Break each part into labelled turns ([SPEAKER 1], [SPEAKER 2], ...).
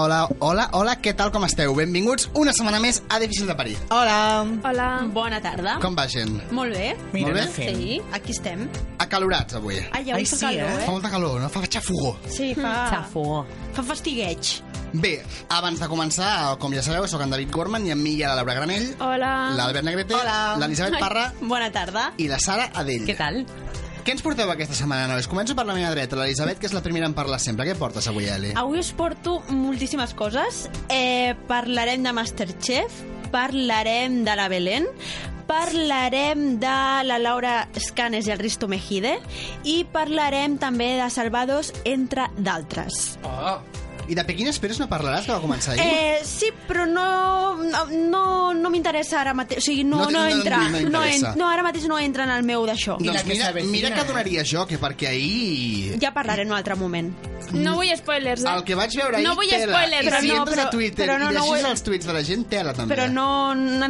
[SPEAKER 1] Hola, hola, què tal, com esteu? Benvinguts una setmana més a Difícil de Parir.
[SPEAKER 2] Hola!
[SPEAKER 3] Hola.
[SPEAKER 4] Bona tarda.
[SPEAKER 1] Com va, gent?
[SPEAKER 4] Molt bé.
[SPEAKER 2] Mira,
[SPEAKER 1] Molt bé.
[SPEAKER 2] anar fent.
[SPEAKER 4] Sí.
[SPEAKER 3] Aquí estem.
[SPEAKER 1] Acalorats, avui.
[SPEAKER 3] Ai, ja
[SPEAKER 2] Ai,
[SPEAKER 3] avui fa
[SPEAKER 2] sí,
[SPEAKER 3] calor,
[SPEAKER 2] eh? Mm,
[SPEAKER 1] Fa molta calor, no? Fa xafugó.
[SPEAKER 3] Sí, fa...
[SPEAKER 4] Xafo.
[SPEAKER 3] Fa fastigueig.
[SPEAKER 1] Bé, abans de començar, com ja sabeu, sóc en David Gorman i amb mi hi ha la Laura Granell,
[SPEAKER 3] Hola.
[SPEAKER 1] l'Albert Negrete,
[SPEAKER 3] Hola.
[SPEAKER 1] l'Elisabet Parra
[SPEAKER 4] Bona tarda.
[SPEAKER 1] i la Sara Adell.
[SPEAKER 4] Què tal?
[SPEAKER 1] Què ens porteu aquesta setmana, nois? Començo per la meva dreta, l'Elisabet, que és la primera en parlar sempre. Què portes avui, Eli?
[SPEAKER 3] Avui us porto moltíssimes coses. Eh, parlarem de Masterchef, parlarem de la Belén, parlarem de la Laura Escanes i el Risto Mejide i parlarem també de Salvados, entre d'altres.
[SPEAKER 1] I de Pequín Esperes no parlaràs, que va començar ahir?
[SPEAKER 3] Eh, sí, però no, no, no m'interessa ara mateix. O sigui, no, no,
[SPEAKER 1] No te- no-
[SPEAKER 3] entra.
[SPEAKER 1] no
[SPEAKER 3] no,
[SPEAKER 1] interessa.
[SPEAKER 3] en, no, ara mateix no entra en el meu d'això.
[SPEAKER 2] I la
[SPEAKER 1] doncs
[SPEAKER 2] que
[SPEAKER 1] mira,
[SPEAKER 2] s'avecina,
[SPEAKER 1] mira que
[SPEAKER 2] eh?
[SPEAKER 1] donaria jo, que perquè ahir...
[SPEAKER 3] Ja parlaré en un altre moment.
[SPEAKER 5] No vull spoilers, eh?
[SPEAKER 1] El que vaig veure ahir,
[SPEAKER 5] No vull
[SPEAKER 1] tela. I
[SPEAKER 5] spoilers,
[SPEAKER 1] si
[SPEAKER 3] però no,
[SPEAKER 1] entres a
[SPEAKER 3] però-
[SPEAKER 1] Twitter
[SPEAKER 3] però no,
[SPEAKER 1] i
[SPEAKER 3] no
[SPEAKER 1] llegis
[SPEAKER 3] vull-
[SPEAKER 1] els tuits de la gent, tela, també.
[SPEAKER 3] Però no,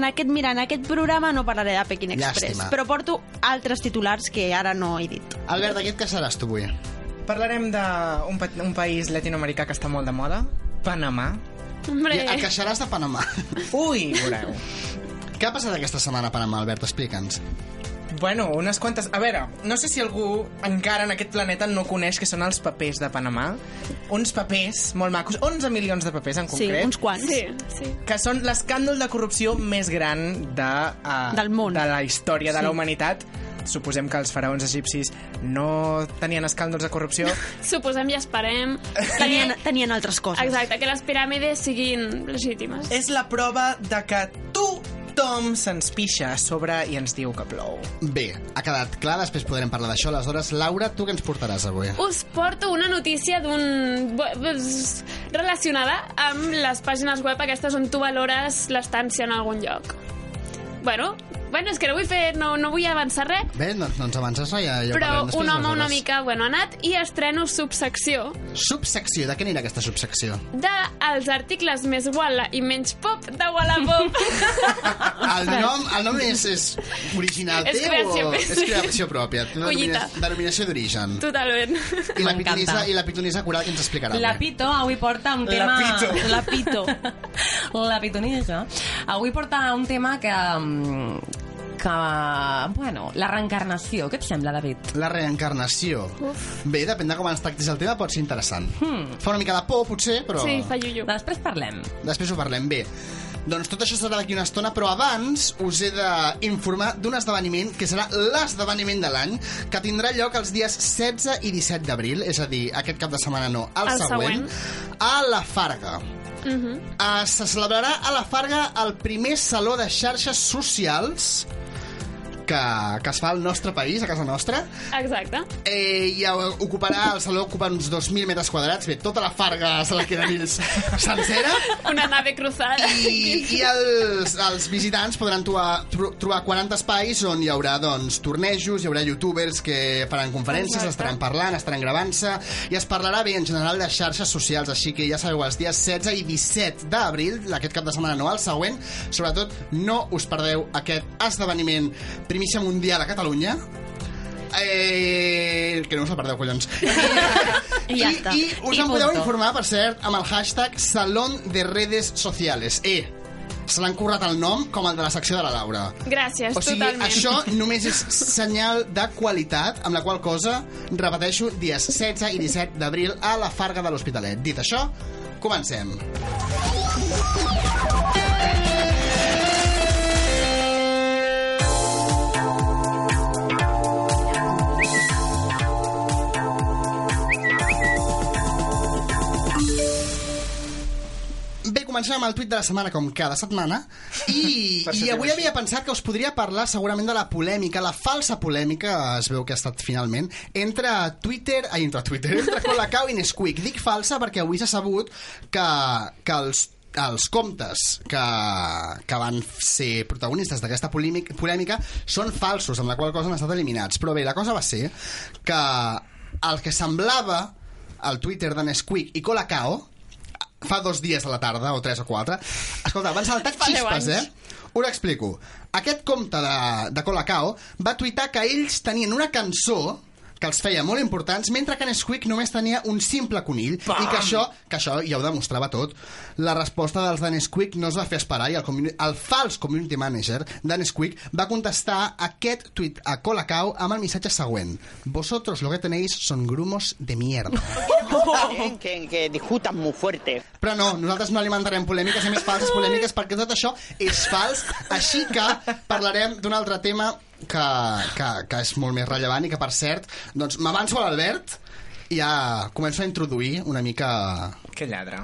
[SPEAKER 3] en aquest, mira, en aquest programa no parlaré de Pekin Express.
[SPEAKER 1] Llàstima.
[SPEAKER 3] Però porto altres titulars que ara no he dit.
[SPEAKER 1] Albert, de què et casaràs tu avui?
[SPEAKER 2] Parlarem d'un pa un país latinoamericà que està molt de moda, Panamà.
[SPEAKER 5] Hombre,
[SPEAKER 1] I et queixaràs de Panamà.
[SPEAKER 2] Ui, veureu.
[SPEAKER 1] Què ha passat aquesta setmana a Panamà, Albert? Explica'ns.
[SPEAKER 2] bueno, unes quantes... A veure, no sé si algú encara en aquest planeta no coneix que són els papers de Panamà. Uns papers molt macos, 11 milions de papers en concret.
[SPEAKER 3] Sí, uns quants.
[SPEAKER 5] sí, sí.
[SPEAKER 2] que són l'escàndol de corrupció més gran de, uh,
[SPEAKER 3] Del món.
[SPEAKER 2] de la història de la humanitat. Suposem que els faraons egipcis no tenien escàndols de corrupció.
[SPEAKER 5] Suposem i esperem
[SPEAKER 3] Tenien,
[SPEAKER 5] que,
[SPEAKER 3] tenien altres coses.
[SPEAKER 5] exacte, que les piràmides siguin legítimes.
[SPEAKER 1] Eh.
[SPEAKER 2] És la prova de que tothom se'ns pixa a sobre i ens diu que plou.
[SPEAKER 1] Bé, ha quedat clar, després podrem parlar d'això. Aleshores, Laura, tu què ens portaràs avui?
[SPEAKER 5] Us porto una notícia d'un... bo- bus- relacionada amb les pàgines web aquestes on tu valores l'estància en algun lloc. Bueno, bueno, és que no vull fer... No, no vull avançar res,
[SPEAKER 1] Bé, doncs no ens avances, no? Ja, ja ho
[SPEAKER 5] però
[SPEAKER 1] parlarem després,
[SPEAKER 5] un home una
[SPEAKER 1] aleshores.
[SPEAKER 5] mica bueno, ha anat i estreno subsecció
[SPEAKER 1] Subsecció, de què anirà aquesta subsecció?
[SPEAKER 5] dels articles més guala i menys pop de Wallapop.
[SPEAKER 1] El nom, el nom és, és original
[SPEAKER 5] És
[SPEAKER 1] teu
[SPEAKER 5] creació
[SPEAKER 1] o...
[SPEAKER 5] pròpia.
[SPEAKER 1] És creació pròpia. Una
[SPEAKER 5] Collita.
[SPEAKER 1] denomina- denominació d'origen.
[SPEAKER 5] Totalment.
[SPEAKER 1] I la
[SPEAKER 4] M'encanta.
[SPEAKER 1] pitonisa, I la pitonisa coral que ens explicarà.
[SPEAKER 4] La
[SPEAKER 1] avui.
[SPEAKER 4] Pito avui porta un
[SPEAKER 2] La
[SPEAKER 4] tema...
[SPEAKER 2] Pito.
[SPEAKER 4] La Pito. La pitonisa. Avui porta un tema que... mm, que... Bueno, la reencarnació. Què et sembla, David?
[SPEAKER 1] La reencarnació. Uf. Bé, depèn de com ens tractis el tema, pot ser interessant. Hmm. Fa una mica de por, potser, però...
[SPEAKER 5] Sí, fa iuiu.
[SPEAKER 4] Després parlem.
[SPEAKER 1] Després ho parlem bé. Doncs tot això serà d'aquí una estona, però abans us he d'informar d'un esdeveniment que serà l'esdeveniment de l'any, que tindrà lloc els dies 16 i 17 d'abril, és a dir, aquest cap de setmana no, el,
[SPEAKER 5] El
[SPEAKER 1] següent,
[SPEAKER 5] següent.
[SPEAKER 1] a la Farga.
[SPEAKER 5] Mm -hmm.
[SPEAKER 1] Eh, se celebrarà a la Farga el primer saló de xarxes socials que, que es fa al nostre país, a casa nostra,
[SPEAKER 5] Exacte.
[SPEAKER 1] Eh, i ocuparà, el saló ocupa uns 2.000 metres quadrats, bé, tota la farga se la queda dins sencera,
[SPEAKER 5] Una nave cruzada.
[SPEAKER 1] i, i els, els visitants podran trobar, tro- trobar 40 espais on hi haurà doncs, tornejos, hi haurà youtubers que faran conferències,
[SPEAKER 5] Exacte.
[SPEAKER 1] estaran parlant, estaran gravant-se, i es parlarà bé en general de xarxes socials, així que ja sabeu, els dies 16 i 17 d'abril, aquest cap de setmana no, el següent, sobretot no us perdeu aquest esdeveniment primícia mundial a Catalunya, Eh, que no us la perdeu, collons.
[SPEAKER 3] I ja està.
[SPEAKER 1] I, i us
[SPEAKER 4] I
[SPEAKER 1] en podeu
[SPEAKER 4] punto.
[SPEAKER 1] informar, per cert, amb el hashtag Salón de Redes Sociales. Eh, se l'han currat el nom com el de la secció de la Laura.
[SPEAKER 5] Gràcies,
[SPEAKER 1] O sigui,
[SPEAKER 5] totalment.
[SPEAKER 1] això només és senyal de qualitat, amb la qual cosa, repeteixo, dies 16 i 17 d'abril a la Farga de l'Hospitalet. Dit això, comencem. Bé, comencem amb el tuit de la setmana, com cada setmana, i,
[SPEAKER 2] Per
[SPEAKER 1] i
[SPEAKER 2] ser
[SPEAKER 1] avui
[SPEAKER 2] divertit.
[SPEAKER 1] havia pensat que us podria parlar segurament de la polèmica, la falsa polèmica, es veu que ha estat finalment, entre Twitter, ai, entre Twitter, entre Colacao i Nesquik. Dic falsa perquè avui s'ha sabut que, que els els comptes que, que van ser protagonistes d'aquesta polèmic- polèmica són falsos, amb la qual cosa han estat eliminats. Però bé, la cosa va ser que el que semblava el Twitter de Nesquik i Colacao, fa dos dies a la tarda, o tres o quatre. Escolta, van saltar
[SPEAKER 5] Fa deu
[SPEAKER 1] xispes, eh?
[SPEAKER 5] anys.
[SPEAKER 1] Us explico. Aquest compte de, de Colacao va tuitar que ells tenien una cançó que els feia molt importants, mentre que Nesquik només tenia un simple conill, i que això, que això ja ho demostrava tot. La resposta dels de Nesquik no es va fer esperar i el, comuni- el fals community manager de Nesquik va contestar aquest tuit a Colacao amb el missatge següent. Vosotros lo que tenéis son grumos de mierda.
[SPEAKER 6] Está bien que, que discutan muy fuerte.
[SPEAKER 1] Però no, nosaltres no alimentarem polèmiques i més falses polèmiques perquè tot això és fals. Així que parlarem d'un altre tema que, que, que és molt més rellevant i que, per cert, doncs m'avanço a l'Albert i ja començo a introduir una mica
[SPEAKER 2] Que lladre.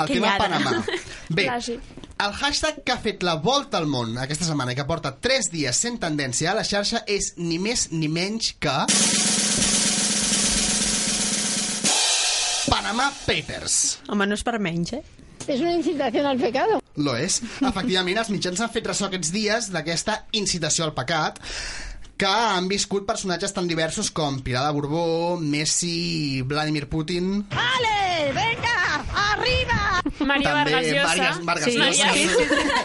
[SPEAKER 1] el
[SPEAKER 3] Que
[SPEAKER 1] tema
[SPEAKER 3] lladre.
[SPEAKER 1] Panamà. Bé,
[SPEAKER 5] Clàssic.
[SPEAKER 1] el hashtag que ha fet la volta al món aquesta setmana i que porta 3 dies sent tendència a la xarxa és ni més ni menys que... Panamà Papers.
[SPEAKER 3] Home, no és per menys, eh?
[SPEAKER 7] Es una incitación al pecado.
[SPEAKER 1] Lo és. Efectivament, els mitjans han fet ressò aquests dies d'aquesta incitació al pecat que han viscut personatges tan diversos com Pilar de Borbó, Messi, Vladimir Putin...
[SPEAKER 7] ¡Ale! ¡Venga! ¡Arriba!
[SPEAKER 5] Maria Vargas
[SPEAKER 1] també Vargas,
[SPEAKER 5] Llosa.
[SPEAKER 1] Vargas
[SPEAKER 3] Sí,
[SPEAKER 1] Llosa.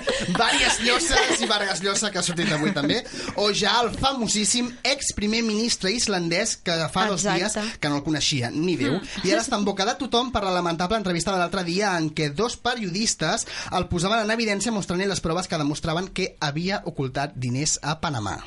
[SPEAKER 5] sí,
[SPEAKER 1] Vargas Llosas i Vargas Llosa, que ha sortit avui també. O ja el famosíssim ex-primer ministre islandès, que fa dos
[SPEAKER 3] Exacte. Mm.
[SPEAKER 1] dies que no el coneixia ni Déu, i ara està en boca de tothom per la lamentable entrevista de l'altre dia en què dos periodistes el posaven en evidència mostrant-li les proves que demostraven que havia ocultat diners a Panamà.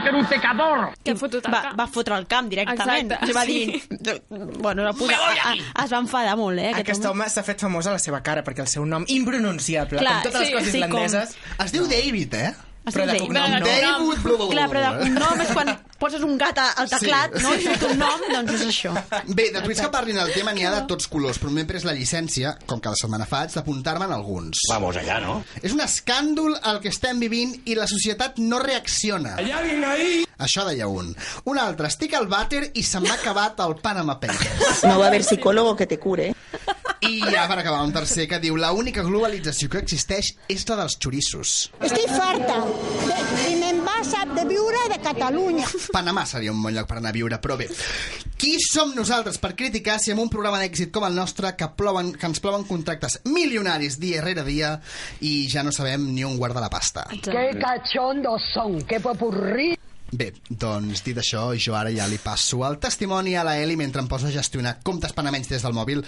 [SPEAKER 5] Que tota ha fotut el
[SPEAKER 3] Va,
[SPEAKER 5] cap.
[SPEAKER 3] va fotre el camp directament.
[SPEAKER 5] Exacte,
[SPEAKER 3] I va
[SPEAKER 5] sí.
[SPEAKER 3] dir... Bueno, va posar, a, a, es va enfadar molt, eh? Aquest,
[SPEAKER 2] Aquest home s'ha fet famós a la seva cara perquè el seu nom impronunciable,
[SPEAKER 3] Clar,
[SPEAKER 2] com totes
[SPEAKER 3] sí,
[SPEAKER 2] les coses
[SPEAKER 3] sí, com-
[SPEAKER 2] islandeses,
[SPEAKER 1] Es diu David, eh?
[SPEAKER 3] Es
[SPEAKER 2] però
[SPEAKER 3] diu Dave.
[SPEAKER 2] de cognom no.
[SPEAKER 5] Però de cognom-
[SPEAKER 1] David... Eh? blu, blu, blu,
[SPEAKER 3] Clar, però de
[SPEAKER 1] blu, blu.
[SPEAKER 3] cognom és quan poses un gat a- al teclat, sí. no? I surt un nom, doncs és això.
[SPEAKER 1] Bé, de tuits que parlin del tema n'hi ha de tots colors, però m'he pres la llicència, com cada setmana faig, d'apuntar-me'n alguns.
[SPEAKER 8] Vamos allá, ¿no?
[SPEAKER 1] És un escàndol el que estem vivint i la societat no reacciona. Hi ha alguien ahí? Això deia un. Un altre, estic al vàter i se m'ha acabat el Panama Papers.
[SPEAKER 9] No va a haber psicólogo que te cure. ¿eh?
[SPEAKER 1] I ja per acabar, un tercer que diu la única globalització que existeix és la dels xorissos.
[SPEAKER 7] Estic farta i me'n vas a de viure de Catalunya.
[SPEAKER 1] Panamà seria un bon lloc per anar a viure, però bé. Qui som nosaltres per criticar si amb un programa d'èxit com el nostre que, plouen, que ens plouen contractes milionaris dia rere dia i ja no sabem ni on guardar la pasta?
[SPEAKER 7] Que cachondos son, que popurrí.
[SPEAKER 1] Bé, doncs dit això, jo ara ja li passo el testimoni a la Eli mentre em poso a gestionar comptes panamenys des del mòbil,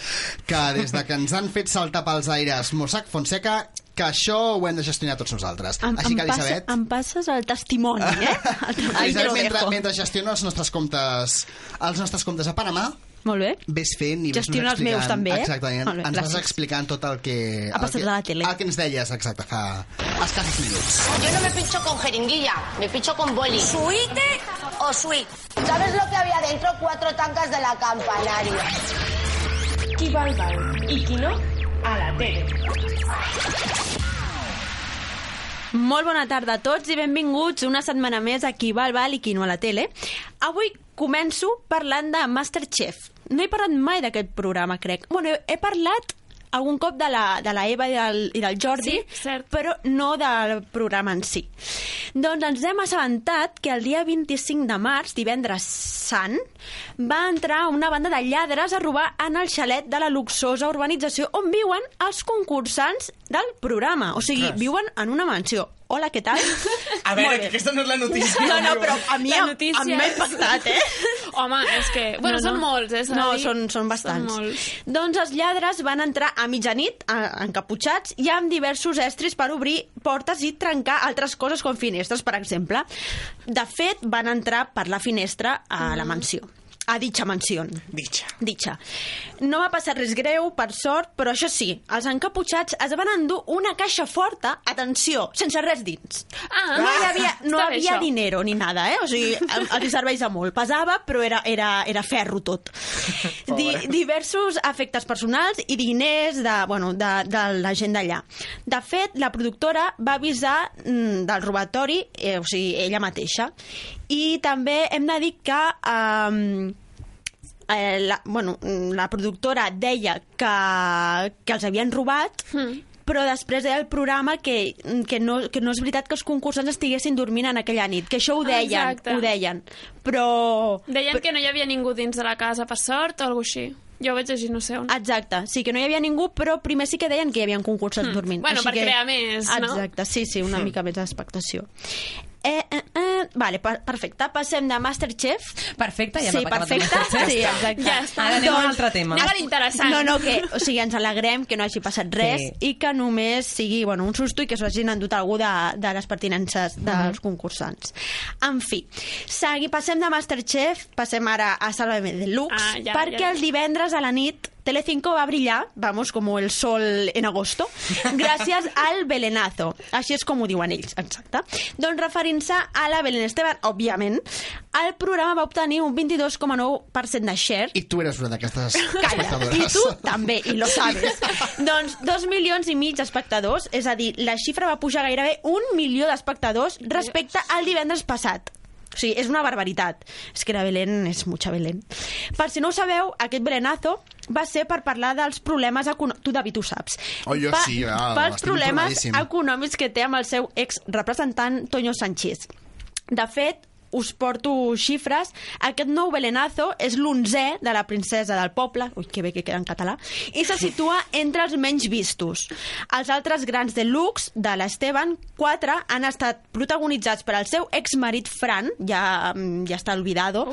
[SPEAKER 1] que des de que ens han fet saltar pels aires Mossack Fonseca, que això ho hem de gestionar tots nosaltres.
[SPEAKER 3] Em,
[SPEAKER 1] Així
[SPEAKER 3] em,
[SPEAKER 1] que,
[SPEAKER 3] passa,
[SPEAKER 1] Elisabet...
[SPEAKER 3] em passes el testimoni, eh? El testimoni te
[SPEAKER 1] Elisabet,
[SPEAKER 3] lo
[SPEAKER 1] mentre,
[SPEAKER 3] dejo.
[SPEAKER 1] mentre gestiono els nostres comptes, els nostres comptes a Panamà,
[SPEAKER 3] Molt bé.
[SPEAKER 1] ves fent i
[SPEAKER 3] Gestiono els
[SPEAKER 1] ves
[SPEAKER 3] meus, també, eh?
[SPEAKER 1] Exactament.
[SPEAKER 3] Molt bé,
[SPEAKER 1] ens vas
[SPEAKER 3] gràcies.
[SPEAKER 1] explicant tot el que...
[SPEAKER 3] Ha passat
[SPEAKER 1] el que,
[SPEAKER 3] a la tele.
[SPEAKER 1] El que ens deies, exacte, fa escassos minuts.
[SPEAKER 10] Yo no me pincho con jeringuilla, me pincho con boli. ¿Suite o suite? ¿Sabes lo que había dentro? Cuatro tangas de la campanaria.
[SPEAKER 3] Molt bona tarda a tots i benvinguts una setmana més a Qui va al bal i qui no a la tele. Avui començo parlant de Masterchef. No he parlat mai d'aquest programa, crec. Bueno, he, he parlat algun cop de la, de la Eva i del, i del Jordi,
[SPEAKER 5] Sí, cert.
[SPEAKER 3] però no del programa en si. Doncs ens hem assabentat que el dia 25 de març, divendres sant, va entrar una banda de lladres a robar en el xalet de la luxosa urbanització on viuen els concursants del programa. O sigui,
[SPEAKER 2] Ostres.
[SPEAKER 3] viuen en una mansió. Hola, què tal?
[SPEAKER 2] A
[SPEAKER 3] Molt
[SPEAKER 2] veure,
[SPEAKER 3] bé.
[SPEAKER 2] que aquesta no és la notícia.
[SPEAKER 3] No, no, però a mi,
[SPEAKER 5] La
[SPEAKER 3] em-
[SPEAKER 5] notícia
[SPEAKER 3] a mi m'ha
[SPEAKER 5] és-
[SPEAKER 3] impactat, eh?
[SPEAKER 5] Home, és que... Bueno, són molts, eh? s'ha de
[SPEAKER 3] No,
[SPEAKER 5] dir.
[SPEAKER 3] són, són bastants.
[SPEAKER 5] Són molts.
[SPEAKER 3] doncs els lladres van entrar a mitjanit, a- encaputxats, i amb diversos estris per obrir portes i trencar altres coses com finestres, per exemple. De fet, van entrar per la finestra a
[SPEAKER 5] Mm.
[SPEAKER 3] la mansió, a dicha mansió.
[SPEAKER 2] Ditxa.
[SPEAKER 3] Ditxa. No va passar res greu, per sort, però això sí, els encaputxats es van endur una caixa forta, atenció, sense res dins.
[SPEAKER 5] Ah,
[SPEAKER 3] no hi havia, no
[SPEAKER 5] està bé,
[SPEAKER 3] havia
[SPEAKER 5] això.
[SPEAKER 3] dinero ni nada, eh? O sigui, em- els serveis a molt. Pesava, però era, era, era ferro tot. Di, diversos efectes personals i diners de, bueno, de, de la gent d'allà. De fet, la productora va avisar mm, del robatori, eh, o sigui, ella mateixa. I també hem de dir que... Eh, eh, la, bueno, mm, la productora deia que, que els havien robat,
[SPEAKER 5] Hmm.
[SPEAKER 3] mm. però després deia el programa que, mm, que, no, que no és veritat que els concursants estiguessin dormint en aquella nit, que això ho deien,
[SPEAKER 5] Ah, Exacte.
[SPEAKER 3] ho deien. Però...
[SPEAKER 5] Deien que no hi havia ningú dins de la casa, per sort, o alguna així. Jo ho vaig llegir, no sé
[SPEAKER 3] Ah.
[SPEAKER 5] on.
[SPEAKER 3] Exacte, sí que no hi havia ningú, però primer sí que deien que hi havia concursants dormint.
[SPEAKER 5] Hmm. Bueno, per
[SPEAKER 3] que...
[SPEAKER 5] crear més, no? Hmm.
[SPEAKER 3] Exacte, sí, sí, una mica més d'expectació. Eh, eh, eh. Vale, pa perfecte. Passem de Masterchef.
[SPEAKER 4] Perfecte, ja hem
[SPEAKER 3] sí,
[SPEAKER 4] acabat amb
[SPEAKER 3] perfecte.
[SPEAKER 4] Masterchef.
[SPEAKER 3] Sí, exacte. Doncs,
[SPEAKER 5] Ja està. Doncs,
[SPEAKER 4] Ara anem a un altre tema.
[SPEAKER 5] Anava a l'interessant.
[SPEAKER 3] No, no, que, o sigui, ens alegrem que no hagi passat res
[SPEAKER 4] Sí.
[SPEAKER 3] i que només sigui bueno, un susto i que s'ho hagin endut algú de, de les pertinences dels
[SPEAKER 5] Mhm.
[SPEAKER 3] concursants. En fi, segui, passem de Masterchef, passem ara a Sálvame Deluxe,
[SPEAKER 5] Ah, ja,
[SPEAKER 3] perquè
[SPEAKER 5] ja.
[SPEAKER 3] el divendres a la nit Telecinco va brillar, vamos, como el sol en agosto, gràcies al belenazo. Així és com ho diuen ells, exacte. Doncs referint-se a la Belén Esteban, òbviament, el programa va obtenir un 22,9% de share,
[SPEAKER 1] I tu eres una d'aquestes
[SPEAKER 3] Calla,
[SPEAKER 1] espectadores.
[SPEAKER 3] i tu també, i lo sabes. doncs dos milions i mig d'espectadors, és a dir, la xifra va pujar gairebé un milió d'espectadors respecte al divendres passat. O sigui, és una barbaritat. És que la Belén és mucha Belén. Per si no ho sabeu, aquest belenazo va ser per parlar dels problemes econòmics... Tu, David, ho saps.
[SPEAKER 1] Oh, jo sí, ah,
[SPEAKER 3] pels
[SPEAKER 1] estic
[SPEAKER 3] problemes
[SPEAKER 1] informadíssim.
[SPEAKER 3] econòmics que té amb el seu ex-representant Toño Sánchez. De fet, us porto xifres. Aquest nou belenazo és l'onzè de la princesa del poble, ui, que bé que queda en català, i se situa entre els menys vistos. Els altres grans de lux de l'Esteban, quatre, han estat protagonitzats per el seu exmarit Fran, ja, mm, ja està olvidado,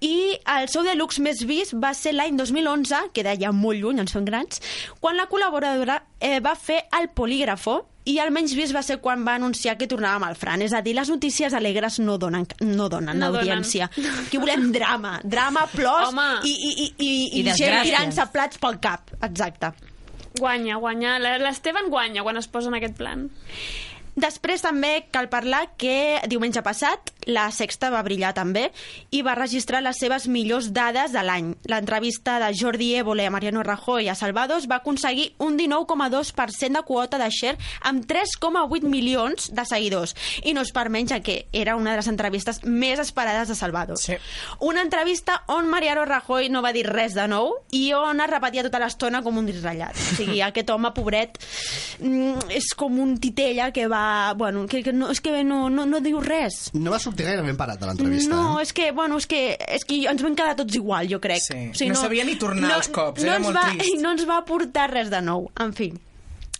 [SPEAKER 3] i el seu deluxe més vist va ser l'any 2011, queda ja molt lluny, ens fem grans, quan la col·laboradora eh, va fer el polígrafo i almenys vist va ser quan va anunciar que tornava amb el Fran. És a dir, les notícies alegres no donen, no donen no
[SPEAKER 5] No donen.
[SPEAKER 3] audiència. Aquí volem drama, drama, plors
[SPEAKER 5] Home.
[SPEAKER 3] i, i, i, i,
[SPEAKER 4] I
[SPEAKER 3] i, gent
[SPEAKER 4] desgràcies.
[SPEAKER 3] tirant-se plats pel cap. Exacte.
[SPEAKER 5] Guanya, guanya. La- L'Esteban guanya quan es posa en aquest plan.
[SPEAKER 3] Després també cal parlar que diumenge passat la Sexta va brillar també i va registrar les seves millors dades de l'any. L'entrevista de Jordi Évole a Mariano Rajoy a Salvados va aconseguir un 19,2% de quota de share amb 3,8 milions de seguidors. I no és per menys ja que era una de les entrevistes més esperades de Salvados.
[SPEAKER 2] Sí.
[SPEAKER 3] Una entrevista on Mariano Rajoy no va dir res de nou i on es repetia tota l'estona com un disratllat. O sigui, aquest home, pobret, mm, és com un titella que va... Bueno, que, que no, és que no, no, no diu res.
[SPEAKER 1] No va sortir gaire ben parat de l'entrevista.
[SPEAKER 3] No,
[SPEAKER 1] eh?
[SPEAKER 3] és que, bueno, és que, és que ens vam quedar tots igual, jo crec.
[SPEAKER 2] Sí. No sabia ni tornar els cops, era
[SPEAKER 3] ens
[SPEAKER 2] molt
[SPEAKER 3] va,
[SPEAKER 2] trist.
[SPEAKER 3] No ens va aportar res de nou, en fi.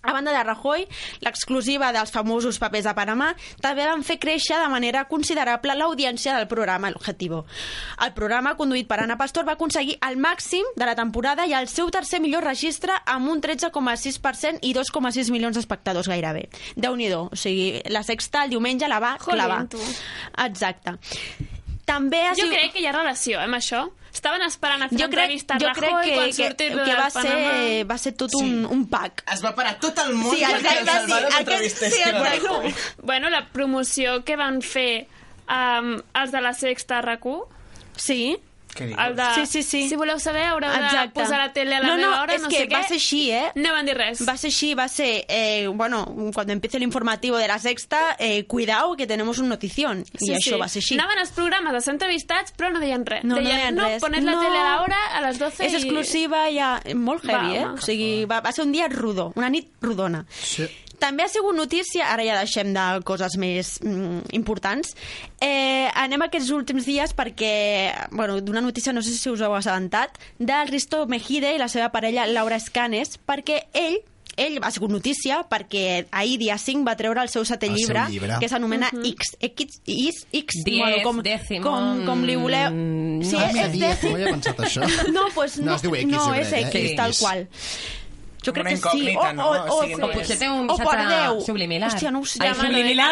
[SPEAKER 3] A banda de Rajoy, l'exclusiva dels famosos papers de Panamà també van fer créixer de manera considerable l'audiència del programa El Objetivo. El programa, conduït per Ana Pastor, va aconseguir el màxim de la temporada i el seu tercer millor registre amb un 13,6% i 2,6 milions d'espectadors gairebé. Déu-n'hi-do, o sigui, la sexta el diumenge la va
[SPEAKER 5] Jolín,
[SPEAKER 3] clavar.
[SPEAKER 5] tu.
[SPEAKER 3] Exacte. També ha
[SPEAKER 5] Jo
[SPEAKER 3] sigut...
[SPEAKER 5] crec que hi ha relació, eh, amb això. Estaven esperant a fer
[SPEAKER 3] Ah, jo crec,
[SPEAKER 5] entrevista a
[SPEAKER 3] jo crec
[SPEAKER 5] Rajoy
[SPEAKER 3] que,
[SPEAKER 5] quan
[SPEAKER 3] que,
[SPEAKER 5] surti
[SPEAKER 3] que va, ser, va ser tot un, un pack.
[SPEAKER 2] Es va parar tot el món
[SPEAKER 3] Sí,
[SPEAKER 2] perquè
[SPEAKER 3] exacte,
[SPEAKER 2] el Salvador
[SPEAKER 3] sí,
[SPEAKER 2] s'entrevistés.
[SPEAKER 3] aquest- sí, exacte.
[SPEAKER 2] Bueno,
[SPEAKER 5] Bueno, la promoció que van fer um, els de la sexta RAC1,
[SPEAKER 3] Sí.
[SPEAKER 2] Què dius?
[SPEAKER 5] el de...
[SPEAKER 3] Sí, sí, sí.
[SPEAKER 5] Si voleu saber, haureu de
[SPEAKER 3] Exacte.
[SPEAKER 5] posar la tele a la
[SPEAKER 3] no, no,
[SPEAKER 5] meva hora,
[SPEAKER 3] és
[SPEAKER 5] no
[SPEAKER 3] que
[SPEAKER 5] sé què.
[SPEAKER 3] va ser així, eh?
[SPEAKER 5] No van dir res.
[SPEAKER 3] Va ser així, va ser, eh, bueno, cuando empiece el informativo de la sexta, eh, cuidao que tenemos un notición. I
[SPEAKER 5] Sí,
[SPEAKER 3] això
[SPEAKER 5] sí.
[SPEAKER 3] va ser així.
[SPEAKER 5] Anaven als programes a ser entrevistats, però no deien res.
[SPEAKER 3] No, no
[SPEAKER 5] deien,
[SPEAKER 3] deien
[SPEAKER 5] no,
[SPEAKER 3] res.
[SPEAKER 5] poned la
[SPEAKER 3] No.
[SPEAKER 5] tele a l'hora, a les 12
[SPEAKER 3] És
[SPEAKER 5] i...
[SPEAKER 3] exclusiva i ja... Molt
[SPEAKER 5] Va,
[SPEAKER 3] heavy, eh?
[SPEAKER 5] home.
[SPEAKER 3] O sigui, va, va ser un dia rudo, una nit rodona.
[SPEAKER 1] Sí.
[SPEAKER 3] També ha sigut notícia, ara ja deixem de coses més mm, importants, eh, anem aquests últims dies perquè, bueno, d'una notícia, no sé si us heu assabentat, del Risto Mejide i la seva parella Laura Escanes, perquè ell ell ha sigut notícia perquè ahir, dia 5, va treure el seu setè
[SPEAKER 1] El seu
[SPEAKER 3] llibre,
[SPEAKER 1] llibre.
[SPEAKER 3] que s'anomena X, X, X, X,
[SPEAKER 4] Diez,
[SPEAKER 3] bueno, com,
[SPEAKER 4] décimo,
[SPEAKER 3] com, com li voleu...
[SPEAKER 4] mm,
[SPEAKER 3] Sí,
[SPEAKER 4] no
[SPEAKER 1] Ah,
[SPEAKER 3] és,
[SPEAKER 1] mira,
[SPEAKER 3] és
[SPEAKER 1] dia,
[SPEAKER 3] décimo.
[SPEAKER 1] com havia pensat això?
[SPEAKER 3] No, pues no,
[SPEAKER 1] No, es diu X,
[SPEAKER 3] no
[SPEAKER 1] jo crec,
[SPEAKER 3] és
[SPEAKER 1] eh?
[SPEAKER 3] X,
[SPEAKER 4] Sí.
[SPEAKER 3] tal qual. Jo crec
[SPEAKER 2] Una
[SPEAKER 3] que sí.
[SPEAKER 2] incògnita, no?
[SPEAKER 3] o,
[SPEAKER 2] O
[SPEAKER 3] o,
[SPEAKER 2] sigui, no
[SPEAKER 4] O
[SPEAKER 2] és-
[SPEAKER 4] potser té un
[SPEAKER 3] o per
[SPEAKER 4] missatge
[SPEAKER 3] 10.
[SPEAKER 4] sublimilar.
[SPEAKER 3] Hòstia, no ho sé.
[SPEAKER 4] Ai,
[SPEAKER 3] Manu,
[SPEAKER 4] sublimilar.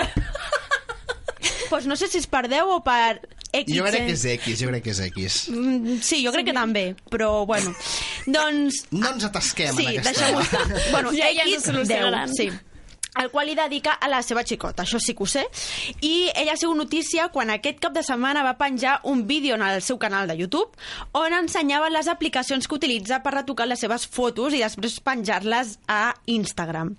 [SPEAKER 3] Pues no sé si és per 10 o per X.
[SPEAKER 1] Jo crec
[SPEAKER 3] eh?
[SPEAKER 1] que és X, jo crec que és X.
[SPEAKER 3] Mm, Sí, jo crec que també, però bueno. doncs,
[SPEAKER 1] No ens atasquem
[SPEAKER 3] sí,
[SPEAKER 1] en aquesta...
[SPEAKER 3] deixem-ho estar. Bueno,
[SPEAKER 5] Ja, ja
[SPEAKER 3] X,
[SPEAKER 5] s'ho solucionaran.
[SPEAKER 3] 10, sí el qual li dedica a la seva xicota, això sí que ho sé, i ella ha sigut notícia quan aquest cap de setmana va penjar un vídeo en el seu canal de YouTube on ensenyava les aplicacions que utilitza per retocar les seves fotos i després penjar-les a Instagram.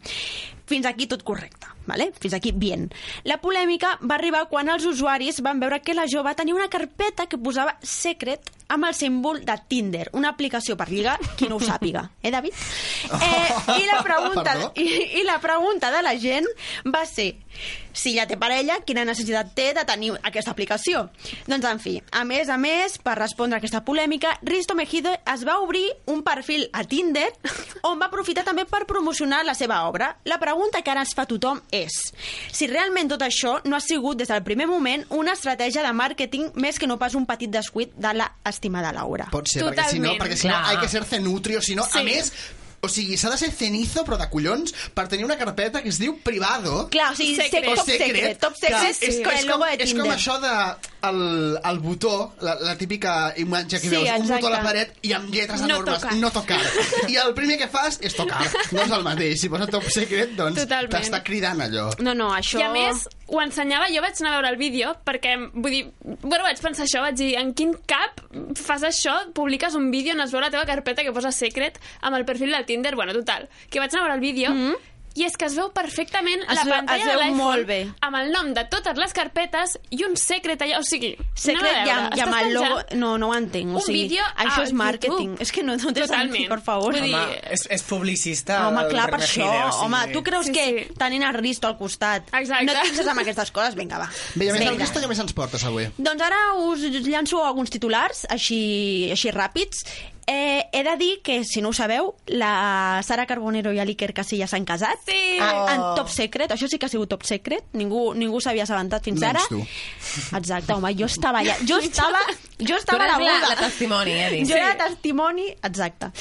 [SPEAKER 3] Fins aquí tot correcte, vale? fins aquí bien. La polèmica va arribar quan els usuaris van veure que la jove tenia una carpeta que posava secret amb el símbol de Tinder, una aplicació per lligar, qui no ho sàpiga, eh, David? Eh, I la pregunta,
[SPEAKER 1] Perdó?
[SPEAKER 3] i, i la pregunta de la gent va ser si ja té parella, quina necessitat té de tenir aquesta aplicació. Doncs, en fi, a més a més, per respondre a aquesta polèmica, Risto Mejido es va obrir un perfil a Tinder on va aprofitar també per promocionar la seva obra. La pregunta que ara es fa tothom és si realment tot això no ha sigut des del primer moment una estratègia de màrqueting més que no pas un petit descuit de la estimada Laura.
[SPEAKER 1] Pot ser, perquè si no,
[SPEAKER 5] Totalment,
[SPEAKER 1] perquè si no
[SPEAKER 4] clar.
[SPEAKER 1] hay que ser cenutrio, si no, a
[SPEAKER 5] Sí.
[SPEAKER 1] més, o sigui, s'ha de ser cenizo, però de collons, per tenir una carpeta que es diu privado.
[SPEAKER 3] Clar, o sigui,
[SPEAKER 5] Secret.
[SPEAKER 3] secret, top secret, top secret,
[SPEAKER 1] que és,
[SPEAKER 3] con el
[SPEAKER 1] és, com,
[SPEAKER 3] logo de
[SPEAKER 1] és
[SPEAKER 3] Tinder.
[SPEAKER 1] com això de el, el botó, la, la típica imatge que
[SPEAKER 3] Sí,
[SPEAKER 1] veus, un
[SPEAKER 3] exacte.
[SPEAKER 1] botó a la paret i amb lletres
[SPEAKER 5] No
[SPEAKER 1] enormes,
[SPEAKER 5] tocar.
[SPEAKER 1] no tocar. I el primer que fas és tocar, no és el mateix. Si posa top secret, doncs
[SPEAKER 5] Totalment.
[SPEAKER 1] t'està cridant allò.
[SPEAKER 3] No, no, això...
[SPEAKER 5] I a més, ho ensenyava, jo vaig anar a veure el vídeo, perquè, vull dir, bueno, vaig pensar això, vaig dir, en quin cap fas això, publiques un vídeo on es veu la teva carpeta que posa secret amb el perfil del Tinder, bueno, total, que vaig anar a veure el vídeo, mm -hmm. I és que es veu perfectament
[SPEAKER 3] Es
[SPEAKER 5] la
[SPEAKER 3] veu-
[SPEAKER 5] pantalla
[SPEAKER 3] es veu
[SPEAKER 5] de l'iPhone
[SPEAKER 3] molt bé.
[SPEAKER 5] amb el nom de totes les carpetes i un secret allà, o sigui... anava a
[SPEAKER 3] Secret i
[SPEAKER 5] veure,
[SPEAKER 3] amb, i amb
[SPEAKER 5] estàs
[SPEAKER 3] el logo...
[SPEAKER 5] penjant
[SPEAKER 3] No, no ho entenc. O Ah,
[SPEAKER 5] un
[SPEAKER 3] sigui,
[SPEAKER 5] vídeo a
[SPEAKER 3] això és màrqueting.
[SPEAKER 5] YouTube.
[SPEAKER 3] És que no, no té sentit,
[SPEAKER 5] Totalment.
[SPEAKER 3] per favor.
[SPEAKER 5] Vull dir,
[SPEAKER 2] Home, és, és publicista.
[SPEAKER 3] Home,
[SPEAKER 2] el
[SPEAKER 3] clar, per
[SPEAKER 2] Remejide,
[SPEAKER 3] això.
[SPEAKER 2] o sigui.
[SPEAKER 3] Home, tu creus
[SPEAKER 5] Sí,
[SPEAKER 3] que
[SPEAKER 5] sí.
[SPEAKER 3] tenint el Risto al costat
[SPEAKER 5] Exacte.
[SPEAKER 3] no et fixes en aquestes coses? Vinga, va.
[SPEAKER 1] Bé, i a més,
[SPEAKER 3] Vinga.
[SPEAKER 1] el Cristo ja més ens portes avui.
[SPEAKER 3] Doncs ara us llanço alguns titulars, així, així ràpids. Eh, he de dir que, si no ho sabeu, la Sara Carbonero i l'Iker Casillas s'han casat.
[SPEAKER 5] Sí!
[SPEAKER 3] En,
[SPEAKER 1] Oh.
[SPEAKER 3] en Top Secret, això sí que ha sigut Top Secret, ningú, ningú s'havia assabentat fins
[SPEAKER 1] Menys
[SPEAKER 3] ara.
[SPEAKER 1] tu.
[SPEAKER 3] Exacte, home, jo estava allà, jo estava, jo
[SPEAKER 4] Tu
[SPEAKER 3] estava a
[SPEAKER 4] eres
[SPEAKER 3] la
[SPEAKER 4] la,
[SPEAKER 3] boda.
[SPEAKER 4] la testimoni, eh, dic.
[SPEAKER 3] Jo era testimoni, exacte.